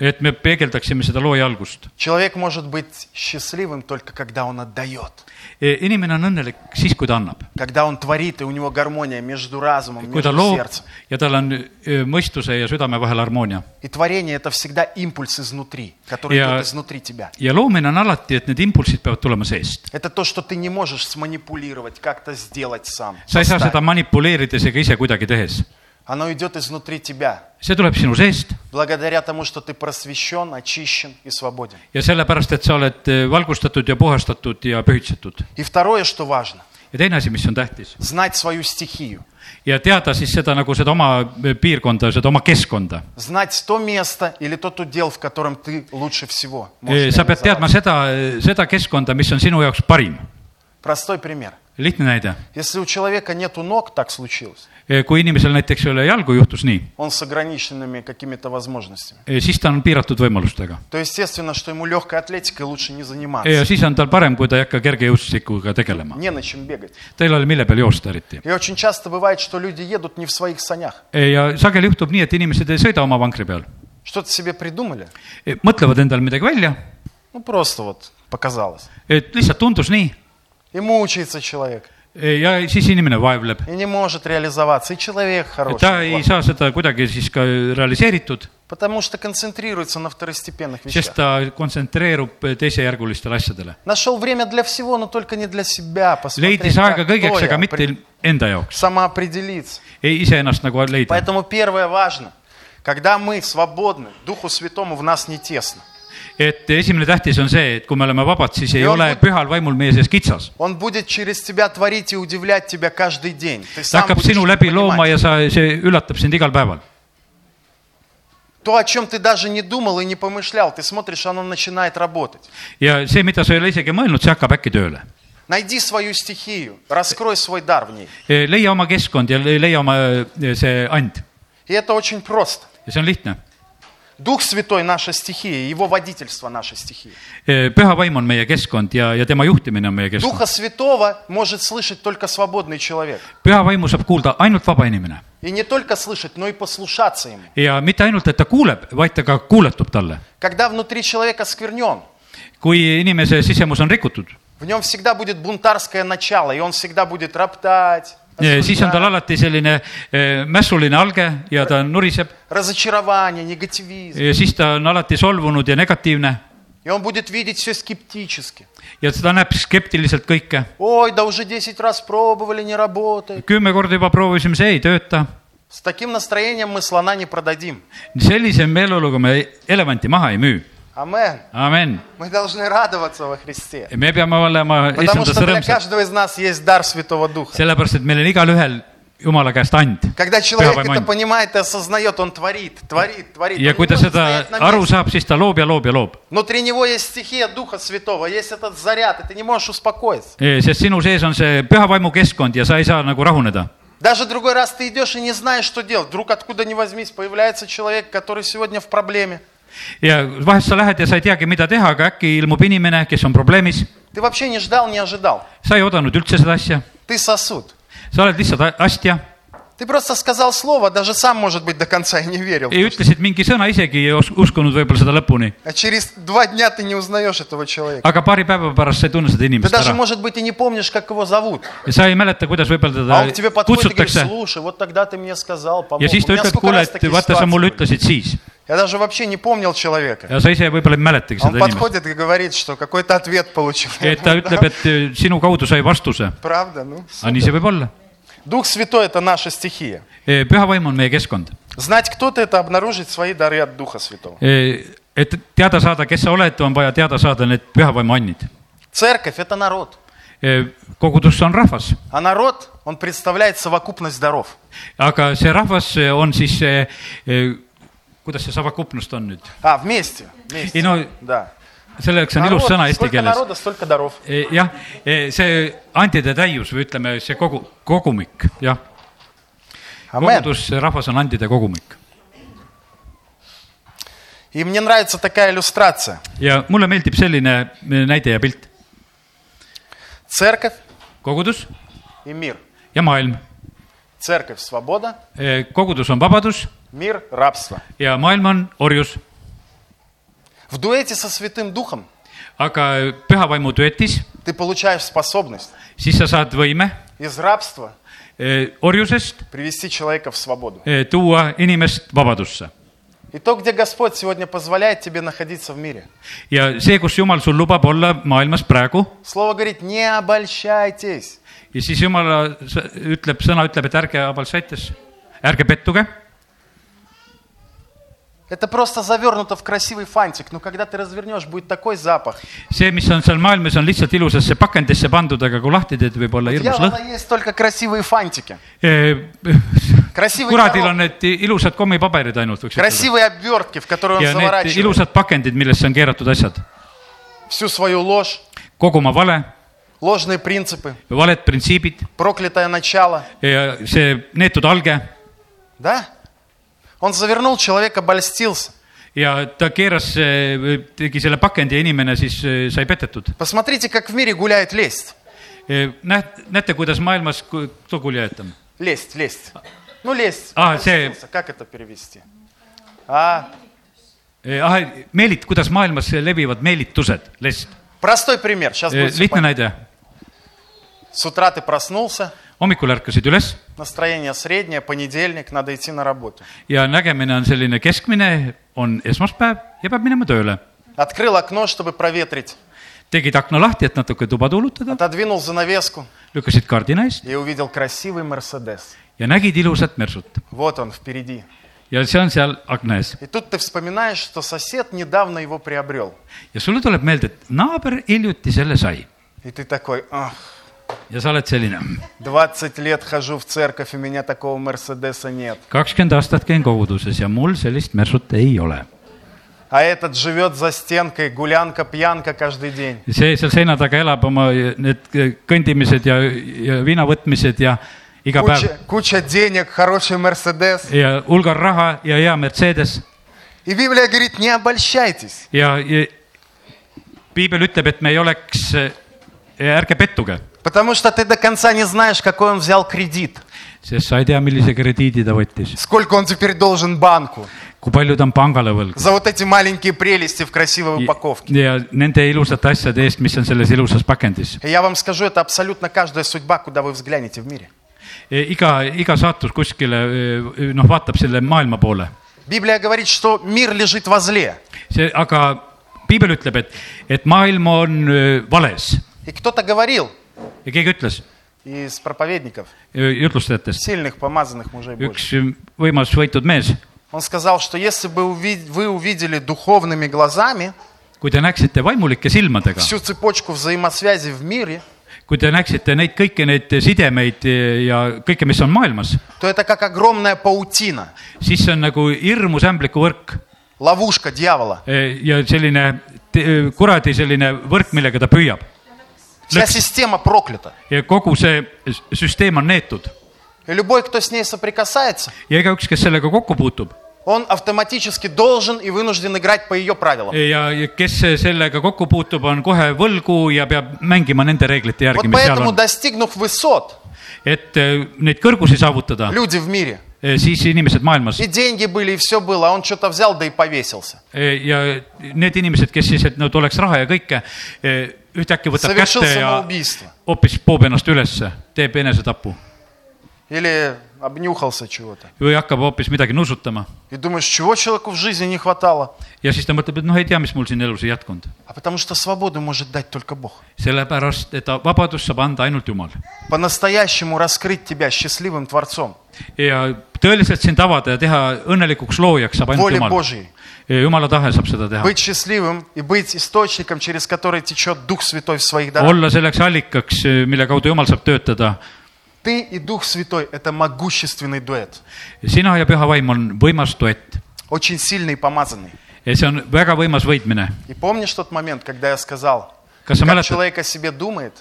S2: et me peegeldaksime seda looja algust
S1: Человек может быть счастливым только когда он отдает,
S2: E inimene on õnnelik siis , kui ta annab ,
S1: когда он творит, и у него гармония между разумом,
S2: kui ta
S1: между
S2: loob
S1: сердцем.
S2: ja tal on öö, mõistuse ja südame vahel harmoonia .
S1: И творение – это всегда импульс изнутри, который
S2: Я-
S1: идет изнутри тебя.
S2: ja loomine on alati , et need impulsid peavad tulema seest .
S1: Это то, что ты не можешь сманипулировать, как-то сделать сам.
S2: sa ei saa
S1: составить.
S2: seda manipuleerides ega ise kuidagi tehes .
S1: Оно идет изнутри тебя,
S2: see tuleb sinu seest
S1: благодаря тому, что ты просвещен, очищен и свободен.
S2: ja sellepärast , et sa oled öö, valgustatud ja puhastatud ja pühitsetud .
S1: И vторое, что важно –
S2: ja teine asi , mis on tähtis
S1: знать свою стихию,
S2: ja teada siis seda nagu seda oma öö, piirkonda , seda oma keskkonda .
S1: знать то место или тот удел, в котором ты лучше всего можешь
S2: Э, sa pead teadma
S1: реализоваться.
S2: seda , seda keskkonda , mis on sinu jaoks parim .
S1: Простой пример.
S2: lihtne näide ,
S1: Если у человека нету ног, так случилось,
S2: kui inimesel näiteks ei ole jalgu , juhtus nii ,
S1: он с ограниченными какими-то возможностями,
S2: siis ta on piiratud võimalustega .
S1: то естественно, что ему легкой атлетикой лучше не
S2: ja
S1: заниматься.
S2: siis on tal parem , kui ta ei hakka kergejõustikuga tegelema .
S1: Не на чем бегать.
S2: Teil oli mille peal joosta eriti .
S1: И очень часто бывает, что люди едут не в своих санях.
S2: ja sageli juhtub nii , et inimesed ei sõida oma vankri peal ,
S1: Что-то себе prидумали.
S2: mõtlevad endale midagi välja ,
S1: Ну, просто вот показалось.
S2: et lihtsalt tundus nii
S1: И мучается человек,
S2: ja siis inimene vaevleb .
S1: и не может реализоваться. И человек хороший,
S2: ta ei
S1: плохой.
S2: saa seda kuidagi siis ka realiseeritud ,
S1: потому что концентрируется на второстепенных
S2: sest
S1: вещах.
S2: ta kontsentreerub teisejärgulistele asjadele .
S1: Нашел время для всего, но только не для себя. Посмотреть,
S2: leidis
S1: как,
S2: aega
S1: кто
S2: kõigeks ,
S1: я,
S2: aga mitte
S1: при-
S2: enda jaoks ,
S1: самоопределиться.
S2: ei iseennast nagu leida .
S1: Поэтому первое важно. Когда мы свободны, Духу Святому в нас не тесно.
S2: et esimene tähtis on see , et kui me oleme vabad , siis ei
S1: Ja on
S2: ole
S1: mul-
S2: pühal vaimul meie sees kitsas .
S1: Он будет через тебя творить и удивлять тебя каждый день. Ты
S2: ta
S1: сам
S2: hakkab
S1: будешь
S2: sinu
S1: это
S2: läbi looma
S1: понимать.
S2: ja sa , see üllatab sind igal päeval .
S1: То, о чем ты даже не думал и не помышлял, ты смотришь, оно начинает работать.
S2: ja see , mida sa ei ole isegi mõelnud , see hakkab äkki tööle .
S1: Найди свою стихию, раскрой свой дар в ней.
S2: E, leia oma keskkond ja le- leia oma eh, see and
S1: И это очень просто.
S2: ja see on lihtne .
S1: Дух Святой – наша стихия, Его водительство – наша стихия.
S2: E, püha vaim on meie keskkond ja , ja tema juhtimine on meie keskkond .
S1: Духа Святого может slышать только свободный человек.
S2: püha vaimu saab kuulda ainult vaba inimene
S1: И не только слышать, но и послушаться Ему.
S2: ja mitte ainult , et ta kuuleb , vaid ta ka kuuletub talle .
S1: Когда внутри человека сквернен,
S2: kui inimese sisemus on rikutud , e,
S1: в нем всегда будет бунтарское начало, и он всегда будет roптать,
S2: siis on tal
S1: осуждать,
S2: alati selline eh, mässuline alge ja ta nuriseb
S1: разочарование, негативизм.
S2: ja siis ta on alati solvunud ja negatiivne
S1: И он будет видеть все скептически.
S2: ja ta näeb skeptiliselt kõike .
S1: Ой, да уже 10 раз пробовали, не работает.
S2: kümme korda juba proovisime , see ei tööta .
S1: С таким настроением мы слона не продадим.
S2: sellise meeleoluga me elevanti maha ei müü .
S1: Амен.
S2: amen .
S1: Мы должны радоваться во Христе.
S2: me peame olema
S1: Потому
S2: issandas
S1: что для
S2: rõõmsad ,
S1: каждого из нас есть дар Святого Духа.
S2: sellepärast et meil on igalühel jumala käest and .
S1: Когда человек
S2: Пятая
S1: это
S2: мань.
S1: понимает и осознает, он творит, творит, творит.
S2: ja
S1: Он не
S2: kui ta
S1: может
S2: seda
S1: стоять на
S2: aru
S1: месте.
S2: saab , siis ta loob ja loob ja loob .
S1: Внутри него есть стихия Духа Святого, есть этот заряд, и ты не можешь успокоиться.
S2: E, sest sinu sees on see püha vaimu keskkond ja sa ei saa nagu rahuneda .
S1: Даже другой раз ты идешь и не знаешь, что делать. Вдруг откуда ни возьмись, появляется человек, который сегодня в проблеме.
S2: ja vahest sa lähed ja sa ei teagi , mida teha , aga äkki ilmub inimene , kes on probleemis ,
S1: Ты вообще не ждал, не ожидал.
S2: sa ei oodanud üldse seda asja ,
S1: Ты сосуд.
S2: sa oled lihtsalt a- astja
S1: Ты просто сказал слово, даже сам, может быть, до конца и не верил.
S2: ja ütlesid mingi sõna , isegi ei os- uskunud võib-olla seda lõpuni ,
S1: А через два дня ты не узнаешь этого человека.
S2: aga paari päeva pärast sa ei tunne seda
S1: Ты
S2: inimest
S1: даже,
S2: ära
S1: может быть, и не помнишь, как его зовут.
S2: ja sa ei mäleta , kuidas
S1: А
S2: võib-olla
S1: он к тебе
S2: teda
S1: подходит и говорит,
S2: kutsutakse
S1: слушай, вот тогда ты мне сказал, помог.
S2: ja siis
S1: У
S2: ta
S1: меня
S2: ütleb ,
S1: сколько
S2: kuule ,
S1: раз
S2: et
S1: такие
S2: vaata , sa
S1: ситуации
S2: mulle
S1: были.
S2: ütlesid siis
S1: Я даже вообще не помnil человека.
S2: ja sa ise võib-olla ei mäletagi
S1: Он
S2: seda inimest .
S1: подходит и говорит, что какой-то ответ получил.
S2: et ta ütleb , et eh, sinu kaudu sai vastuse ,
S1: Правда, ну.
S2: aga nii see võib olla .
S1: Дух Святой – это наша стихия.
S2: püha vaim on meie keskkond ,
S1: Знать кто ты – это обнаружить свои дары от Духа Святого.
S2: Äh, et teada saada , kes sa oled , on vaja teada saada need püha vaimu annid .
S1: Церковь – это народ.
S2: kogudus on rahvas ,
S1: А народ, он представляет совокупность даров.
S2: aga see rahvas eh, on siis see , kuidas see savakupnust on nüüd ?
S1: А, вместе. вместе.
S2: ei no
S1: Да.
S2: selleks on
S1: Народ,
S2: ilus sõna eesti
S1: сколько
S2: keeles .
S1: народа, столько даров.
S2: jah , see andide täius või ütleme , see kogu , kogumik , jah .
S1: Амен.
S2: kogudus , rahvas on andide kogumik .
S1: И мне нравится такая иллюстрация.
S2: ja mulle meeldib selline eh, näide ja pilt .
S1: Церковь
S2: kogudus
S1: и мир.
S2: ja maailm .
S1: Церковь – свобода,
S2: kogudus on vabadus
S1: мир – рабство.
S2: ja maailm on orjus ,
S1: В дуэте со Святым Духом
S2: aga äh, püha vaimu duetis ,
S1: ты получаешь способность
S2: siis sa saad võime
S1: из рабства
S2: eh, orjusest
S1: привести человека в свободу.
S2: eh, tuua inimest vabadusse .
S1: И то, где Господь сегодня позволяет тебе находиться в мире.
S2: ja see , kus Jumal sul lubab olla maailmas praegu
S1: Слово говорит, не обольщайтесь.
S2: ja siis Jumala s- ütleb , sõna ütleb , et ärge abalsaites , ärge pettuge
S1: Это просто завернуто в красивый фантик, но когда ты развернешь, будет такой запах.
S2: see , mis on seal maailmas , on lihtsalt ilusasse pakendisse pandud , aga kui lahti teed , võib olla
S1: У
S2: hirmus
S1: дьявола
S2: lõhn .
S1: есть только красивые фантики,
S2: Äh,
S1: Красивый
S2: kuradil
S1: koru.
S2: on need ilusad kommipaberid ainult , võiks ütelda .
S1: красивые обвертки, в которые он
S2: ja need
S1: заворачивает
S2: ilusad pakendid , millesse on keeratud asjad .
S1: всю свою ложь,
S2: kogu oma vale ,
S1: ложные принципы,
S2: valed printsiibid ,
S1: проклятое начало,
S2: see neetud alge
S1: да? Он завернул человека, обольстился.
S2: ja ta keeras , tegi selle pakendi ja inimene siis eh, sai petetud .
S1: Посмотрите, как в мире гуляет лесть.
S2: Näht- , näete , kuidas maailmas ku- lugu jäetab ?
S1: Лесть, лесть. Ну, лесть.
S2: А, те-
S1: Обольстился. Как это перевести? А,
S2: ah , meelit- , kuidas maailmas levivad meelitused , lest .
S1: простой пример. Сейчас будет всё
S2: lihtne
S1: понятно.
S2: näide ,
S1: С утра ты проснулся,
S2: hommikul ärkasid üles
S1: настроение среднее, понедельник, надо идти на работу.
S2: ja nägemine on selline keskmine , on esmaspäev ja peab minema tööle .
S1: Открыл окно, чтобы проветрить.
S2: tegid akna lahti , et natuke tuba tuulutada ,
S1: Отодвинул занавеску
S2: lükkasid kardina eest
S1: и увидел красивый Мерседес.
S2: ja nägid ilusat Mersut .
S1: Вот он впереди.
S2: ja see on seal akna ees
S1: И тут ты вспоминаешь, что сосед недавно его приобрел.
S2: ja sulle tuleb meelde , et naaber hiljuti selle sai
S1: И ты такой, ах,
S2: ja sa oled selline , "Hmm,
S1: 20 лет хожу в церковь, и у меня такого Мерседеса нет.
S2: kakskümmend aastat käin koguduses ja mul sellist Mersut ei ole .
S1: А этот живет за стенкой, гулянка, пьянка каждый день.
S2: see seal seina taga elab oma need kõndimised ja , ja viinavõtmised ja iga päev
S1: Куча, куча денег, хороший Мерседес.
S2: ja hulgal raha ja hea Mercedes
S1: И Библия говорит, не обольщайтесь.
S2: ja, ja piibel ütleb , et me ei oleks , ärge pettuge ,
S1: Потому что ты до конца не знаешь, какой он взял кредит.
S2: sest sa ei tea , millise krediidi ta võttis ,
S1: Сколько он теперь должен банку
S2: kui palju ta on pangale võlgu
S1: за вот эти маленькие прелести в красивой упаковке.
S2: ja nende ilusate asjade eest , mis on selles ilusas pakendis .
S1: И я вам скажу, это абсолютно каждая судьба, куда вы взглянете в мире.
S2: E, iga , iga saatus kuskile eh, noh , vaatab selle maailma poole ,
S1: Библия говорит, что мир лежит во зле.
S2: see , aga piibel ütleb , et , et maailm on eh, vales
S1: И кто-то говорил
S2: ja keegi ütles
S1: из проповедников,
S2: eh, jutlustajatest ,
S1: сильных помазанных мужей Божьих.
S2: üks võimas võitud mees ,
S1: Он сказал, что если бы уви- вы увидели духовными глазами
S2: kui te näeksite vaimulike silmadega ,
S1: всю цепочку взаимосвязи в мире,
S2: kui te näeksite neid kõiki neid sidemeid e, ja kõike , mis on maailmas ,
S1: то это как огромная паутина,
S2: siis see on nagu hirmus ämblikuvõrk
S1: ловушка дьявола.
S2: eh, ja selline te- kuradi selline võrk , millega ta püüab .
S1: Вся система проклята.
S2: ja kogu see s- süsteem on neetud
S1: И любой, кто с ней соприкасается,
S2: ja igaüks , kes sellega kokku puutub
S1: он автоматически должен и вынужден играть по ее правилам.
S2: ja , ja kes sellega kokku puutub , on kohe võlgu ja peab mängima nende reeglite
S1: Вот
S2: järgi , mis seal
S1: поэтому,
S2: on .
S1: достигнув высот,
S2: et eh, neid kõrgusi saavutada ,
S1: люди в мире,
S2: siis inimesed maailmas
S1: и деньги были, и все было, а он что-то взял, да и повесился.
S2: eh, ja need inimesed , kes siis , et nad oleks raha ja kõike , ühtäkki võtab
S1: Совершил
S2: kätte ja
S1: самоубийство.
S2: hoopis poob ennast ülesse , teeb enesetapu
S1: Или обнюхался чего-то.
S2: või hakkab hoopis midagi nuusutama
S1: И думаешь, чего человеку в жизни не хватало?
S2: ja siis ta mõtleb , et noh , ei tea , mis mul siin elus ei jätkunud .
S1: А потому что свободу может дать только Бог.
S2: sellepärast , et vabadust saab anda ainult Jumal
S1: По-настоящему раскрыть тебя счастливым Творцом.
S2: ja tõeliselt sind avada ja teha õnnelikuks loojaks saab ainult
S1: Воле
S2: Jumal .
S1: Божьей.
S2: jumala tahe saab seda teha .
S1: Быть счастливым и быть источником, через который течет Дух Святой в своих дарах.
S2: olla selleks allikaks , mille kaudu Jumal saab töötada .
S1: Ты и Дух Святой – это могущественный дуэт.
S2: sina ja püha vaim on võimas duett .
S1: Очень сильный и помазанный.
S2: see on väga võimas võitmine .
S1: И помнишь тот момент, когда я сказал,
S2: kas sa
S1: как
S2: mäletad ,
S1: человек о себе думает,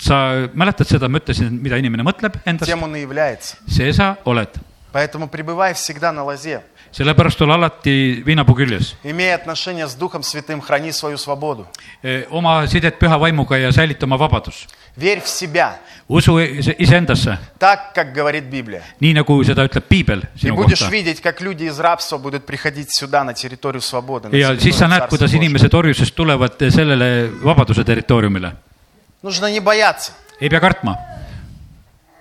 S2: sa mäletad seda , ma ütlesin , mida inimene mõtleb endast ,
S1: тем он и является.
S2: see sa oled .
S1: Поэтому пребывай всегда на лозе,
S2: sellepärast ole alati viinapuu küljes .
S1: имея отношения с Духом Святым, храни свою свободу.
S2: oma sidet püha vaimuga ja säilita oma vabadus .
S1: Верь в себя,
S2: usu ise- iseendasse ,
S1: так, как говорит Библия.
S2: nii nagu seda ütleb piibel
S1: И
S2: sinu
S1: будешь
S2: kohta .
S1: видеть, как люди из рабства будут приходить сюда, на территорию свободы. на
S2: ja
S1: территорию
S2: siis sa
S1: Царства
S2: näed , kuidas
S1: Божьего.
S2: inimesed orjusest tulevad sellele vabaduse territooriumile .
S1: Нужно не бояться.
S2: ei pea kartma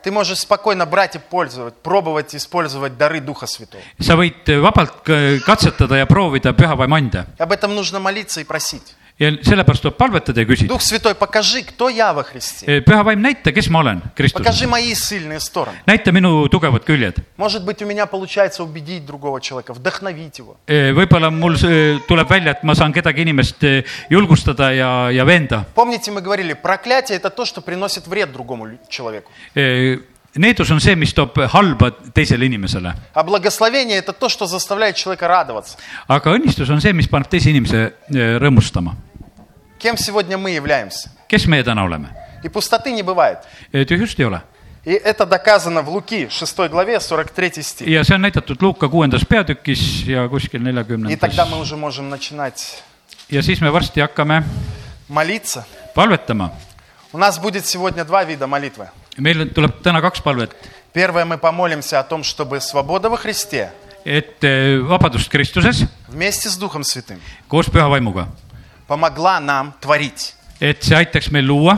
S1: Ты можешь спокойно брать и пользовать, пробовать использовать дары Духа Святого.
S2: sa võid vabalt k- katsetada ja proovida püha vaimu anda
S1: Об этом нужно молиться и просить.
S2: ja sellepärast tuleb palvetada ja küsida .
S1: Дух Святой, покажи, кто я во Христе.
S2: püha vaim , näita , kes ma olen Kristus ,
S1: Покажи мои сильные стороны.
S2: näita minu tugevad küljed .
S1: Может быть, у меня получается убедить другого человека, вдохновить его.
S2: E, võib-olla mul see tuleb välja , et ma saan kedagi inimest eh, julgustada ja , ja veenda .
S1: Помните, мы говорили, проклятие – это то, что приносит вред другому лю- человеку.
S2: E, Needus on see , mis toob halba teisele inimesele ,
S1: А благословение – это то, что заставляет человека радоваться.
S2: aga õnnistus on see , mis paneb teise inimese eh, e, rõõmustama .
S1: Кем сегодня мы являемся?
S2: kes meie täna oleme ?
S1: И пустоты не бывает.
S2: tühjust ei ole
S1: И это доказано в Луки 6 главе 43 стих.
S2: ja see on näidatud Luuka kuuendas peatükis ja kuskil
S1: И тогда мы
S2: neljakümnendas .
S1: уже можем начинать
S2: ja siis me varsti hakkame
S1: молиться.
S2: palvetama .
S1: У нас будет сегодня два вида молитвы.
S2: meil tuleb täna kaks palvet ,
S1: Первое, мы помолимся о том, чтобы свобода во Христе
S2: et eh, vabadust Kristuses
S1: вместе с Духом Святым
S2: koos püha vaimuga ,
S1: помогла нам творить
S2: et see aitaks meil luua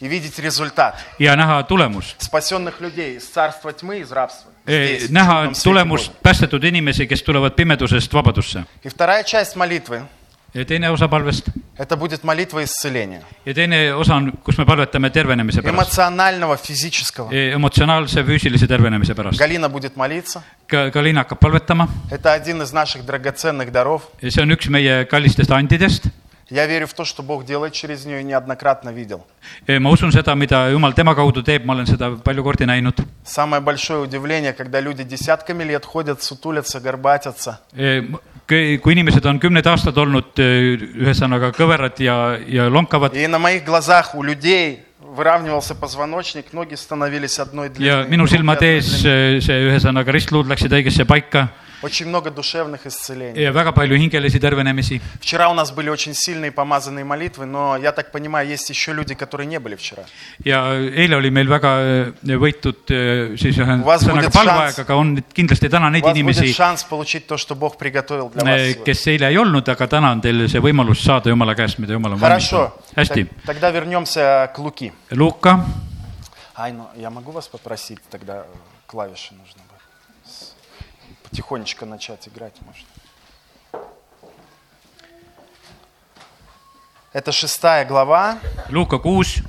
S1: и видеть результат
S2: ja näha tulemust .
S1: спасенных людей из царства тьмы, из рабства. здесь, в
S2: Eh, Э, näha
S1: чудном свете
S2: tulemust
S1: Бога.
S2: päästetud inimesi , kes tulevad pimedusest vabadusse .
S1: И vторая часть молитвы
S2: ja teine osa palvest
S1: – это будет молитва исцеления.
S2: ja teine osa on , kus me palvetame tervenemise pärast ,
S1: Эмоционального, физического.
S2: emotsionaalse füüsilise tervenemise pärast .
S1: Галина будет молиться.
S2: ka , ka Liina hakkab palvetama
S1: Это один из наших драгоценных даров.
S2: ja see on üks meie kallistest andidest .
S1: Я верю в то, что Бог делает через нее и неоднократно видел.
S2: ma usun seda , mida Jumal tema kaudu teeb , ma olen seda palju kordi näinud .
S1: Самое большое удивление, когда люди десятками лет ходят, sutulятся, горбатятся,
S2: kui kui inimesed on kümneid aastaid olnud eh, ühesõnaga kõverad ja , ja lonkavad
S1: И на моих глазах у людей выравнивался позвоночник, ноги становились одной
S2: ja
S1: длины.
S2: minu
S1: руки одной
S2: silmade ees
S1: длины.
S2: eh, see ühesõnaga ristluud läksid õigesse paika
S1: Очень много душевных исцелений.
S2: ja väga palju hingelisi tervenemisi .
S1: Вчера у нас были очень сильные помазанные молитвы, но я так понимаю, есть еще люди, которые не были вчера.
S2: ja eile oli meil väga eh, võitud eh, siis
S1: Vas
S2: ühesõnaga
S1: будет
S2: palveaeg ,
S1: šans-
S2: aga on nüüd kindlasti täna
S1: У
S2: neid
S1: вас будет
S2: inimesi ,
S1: шанс получить то, что Бог приготовил
S2: Э,
S1: для вас. сегодня.
S2: kes eile ei olnud , aga täna on teil see võimalus saada Jumala käest , mida Jumal on
S1: Хорошо.
S2: valmistanud . hästi ,
S1: Так- Тогда вернемся к Луки.
S2: Luuka ,
S1: Ай, ну я могу вас попросить, тогда э, клавиши нужно будет. С- Потихонечку начать играть можно. Это шестая глава,
S2: Luuka kuus ,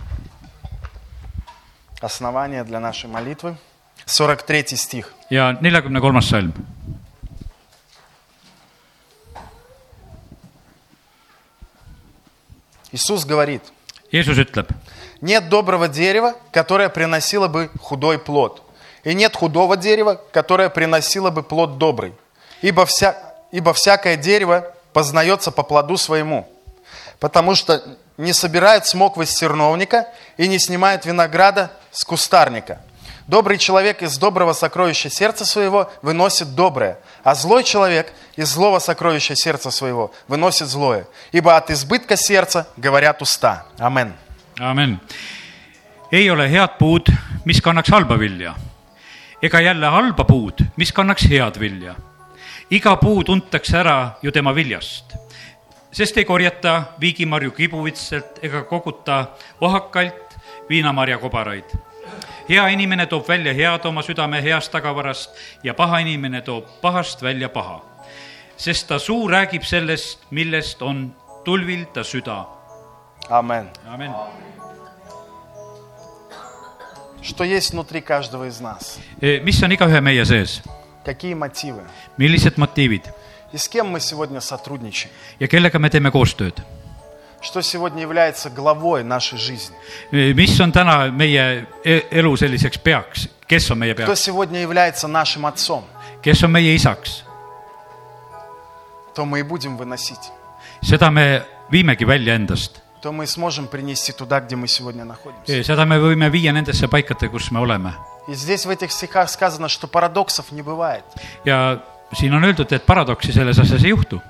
S1: основание для нашей молитвы. 43 стих.
S2: ja neljakümne kolmas salm .
S1: Иисус говорит,
S2: Jeesus ütleb ,
S1: нет доброго дерева, которое приносило бы худой плод, и нет худого дерева, которое приносило бы плод добрый, ибо, вся, ибо всякое дерево познается по плоду своему, потому что не собирает смоквы с терновника и не снимает винограда с кустарника. Добрый человек из доброго сокровища сердца своего выносит доброе, а злой человек из злого сокровища сердца своего выносит злое, ибо от избытка сердца говорят уста. Аминь.
S2: amin . ei ole head puud , mis kannaks halba vilja ega jälle halba puud , mis kannaks head vilja . iga puu tuntakse ära ju tema viljast , sest ei korjata viigimarju kibuvitselt ega koguta ohakalt viinamarja kobaraid . hea inimene toob välja head oma südame heast tagavarast ja paha inimene toob pahast välja paha , sest ta suu räägib sellest , millest on tulvil ta süda .
S1: Амен.
S2: amin
S1: Что есть внутри каждого из нас?
S2: mis on igaühe meie sees ,
S1: Какие мотивы?
S2: millised motiivid
S1: И с кем мы сегодня сотрудничаем?
S2: ja kellega me teeme koostööd ,
S1: Что сегодня является главой нашей жизни?
S2: mis on täna meie e- elu selliseks peaks , kes on meie
S1: Кто
S2: peaks ,
S1: сегодня является нашим отцом?
S2: kes on meie isaks ,
S1: То мы и будем выносить.
S2: seda me viimegi välja endast ,
S1: То мы и сможем принести туда, где мы сегодня находимся.
S2: seda me võime viia nendesse paikade , kus me oleme
S1: И здесь в этих стихах сказано, что парадоксов не бывает.
S2: ja siin on öeldud , et paradoksi selles asjas ei juhtu ,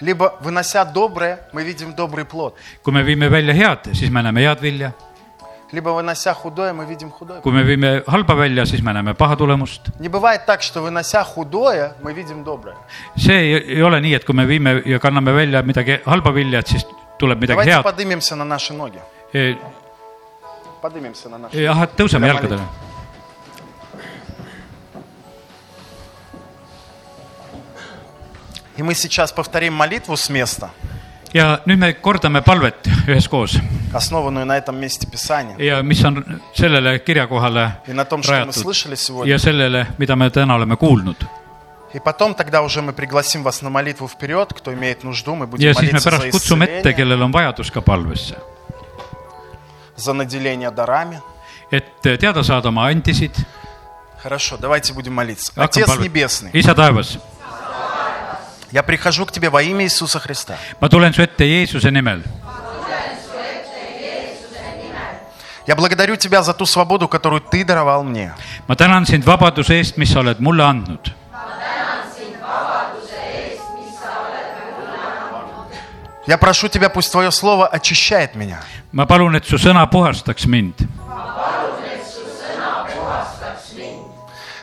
S1: Либо вынося доброе, мы видим добрый плод.
S2: kui me viime välja head , siis me näeme head vilja ,
S1: Либо вынося худое, мы видим худое.
S2: kui me viime halba välja , siis me näeme paha tulemust .
S1: Не бывает так, что вынося худое, мы видим доброе.
S2: see ei, ei ole nii , et kui me viime ja kanname välja midagi halba vilja , et siis tuleb midagi
S1: Давайте
S2: head .
S1: поднимемся на наши ноги. Поднимемся на наши
S2: jah , et tõuseme
S1: Mida
S2: jalgadele .
S1: И мы сейчас повторим молитву с места,
S2: ja nüüd me kordame palvet üheskoos
S1: основанную на этом месте Писания.
S2: ja mis on sellele kirjakohale
S1: И на том, что мы
S2: rajatud
S1: слышали сегодня.
S2: ja sellele , mida me täna oleme kuulnud .
S1: И потом тогда уже мы пригласим вас на молитву вперед, кто имеет нужду, мы будем
S2: ja siis me
S1: молиться за
S2: pärast kutsume ette ,
S1: исцеление,
S2: kellel on vajadus ka palvesse ,
S1: за наделение дарами.
S2: et eh, teada saada oma andisid .
S1: Хорошо, давайте будем молиться. Отец Небесный,
S2: isa taevas ,
S1: я прихожу к Тебе во имя Иисуса Христа.
S2: ma tulen su ette Jeesuse nimel ,
S1: Я благодарю Тебя за ту свободу, которую Ты даровал мне.
S2: ma tänan sind vabaduse eest , mis sa oled mulle andnud .
S1: Я прошу Тебя, пусть Твое Слово очищает меня.
S2: ma palun , et su sõna puhastaks mind .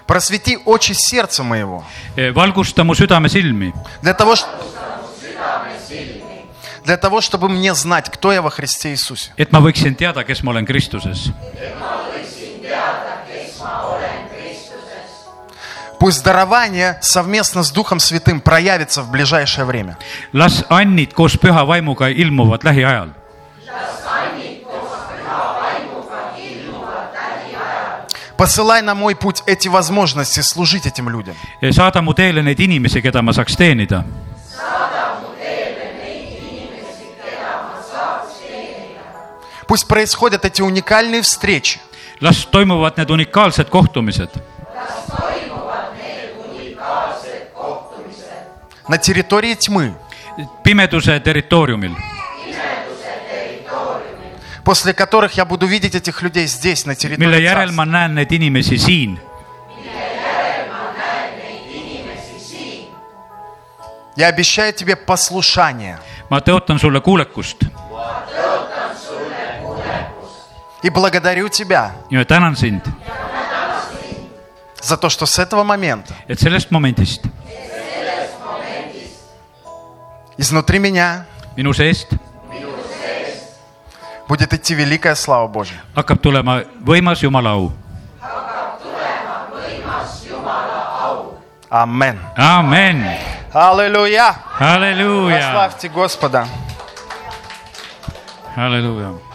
S1: Просвети очи сердца моего.
S2: Eh, valgusta mu südame silmi ,
S1: Для того, ш- для того, чтобы мне знать, кто я во Христе Иисусе.
S2: et ma võiksin teada , kes ma olen Kristuses .
S1: Пусть дарование совместно с Духом Святым проявится в ближайшее время.
S2: las annid koos püha vaimuga ilmuvad lähiajal .
S1: Посылай на мой путь эти возможности служить этим людям.
S2: saada mu teele neid inimesi , keda ma saaks teenida .
S1: Пусть происходят эти уникальные встречи.
S2: las toimuvad need unikaalsed kohtumised
S1: на территории тьмы,
S2: pimeduse territooriumil ,
S1: после которых я буду видеть этих людей здесь, на
S2: mille
S1: территории
S2: järel ma
S1: царства.
S2: näen neid inimesi siin .
S1: Я обещаю тебе послушание
S2: ma tõotan sulle kuulekust
S1: и благодарю тебя
S2: ja tänan sind ,
S1: за то, что с этого момента
S2: et sellest momendist
S1: изнутри меня
S2: minu seest
S1: будет идти великая слава Божья.
S2: hakkab tulema võimas Jumala au .
S1: Амен.
S2: amen ,
S1: Аллилуйя!
S2: halleluuja ,
S1: Прославьте Господа!
S2: halleluuja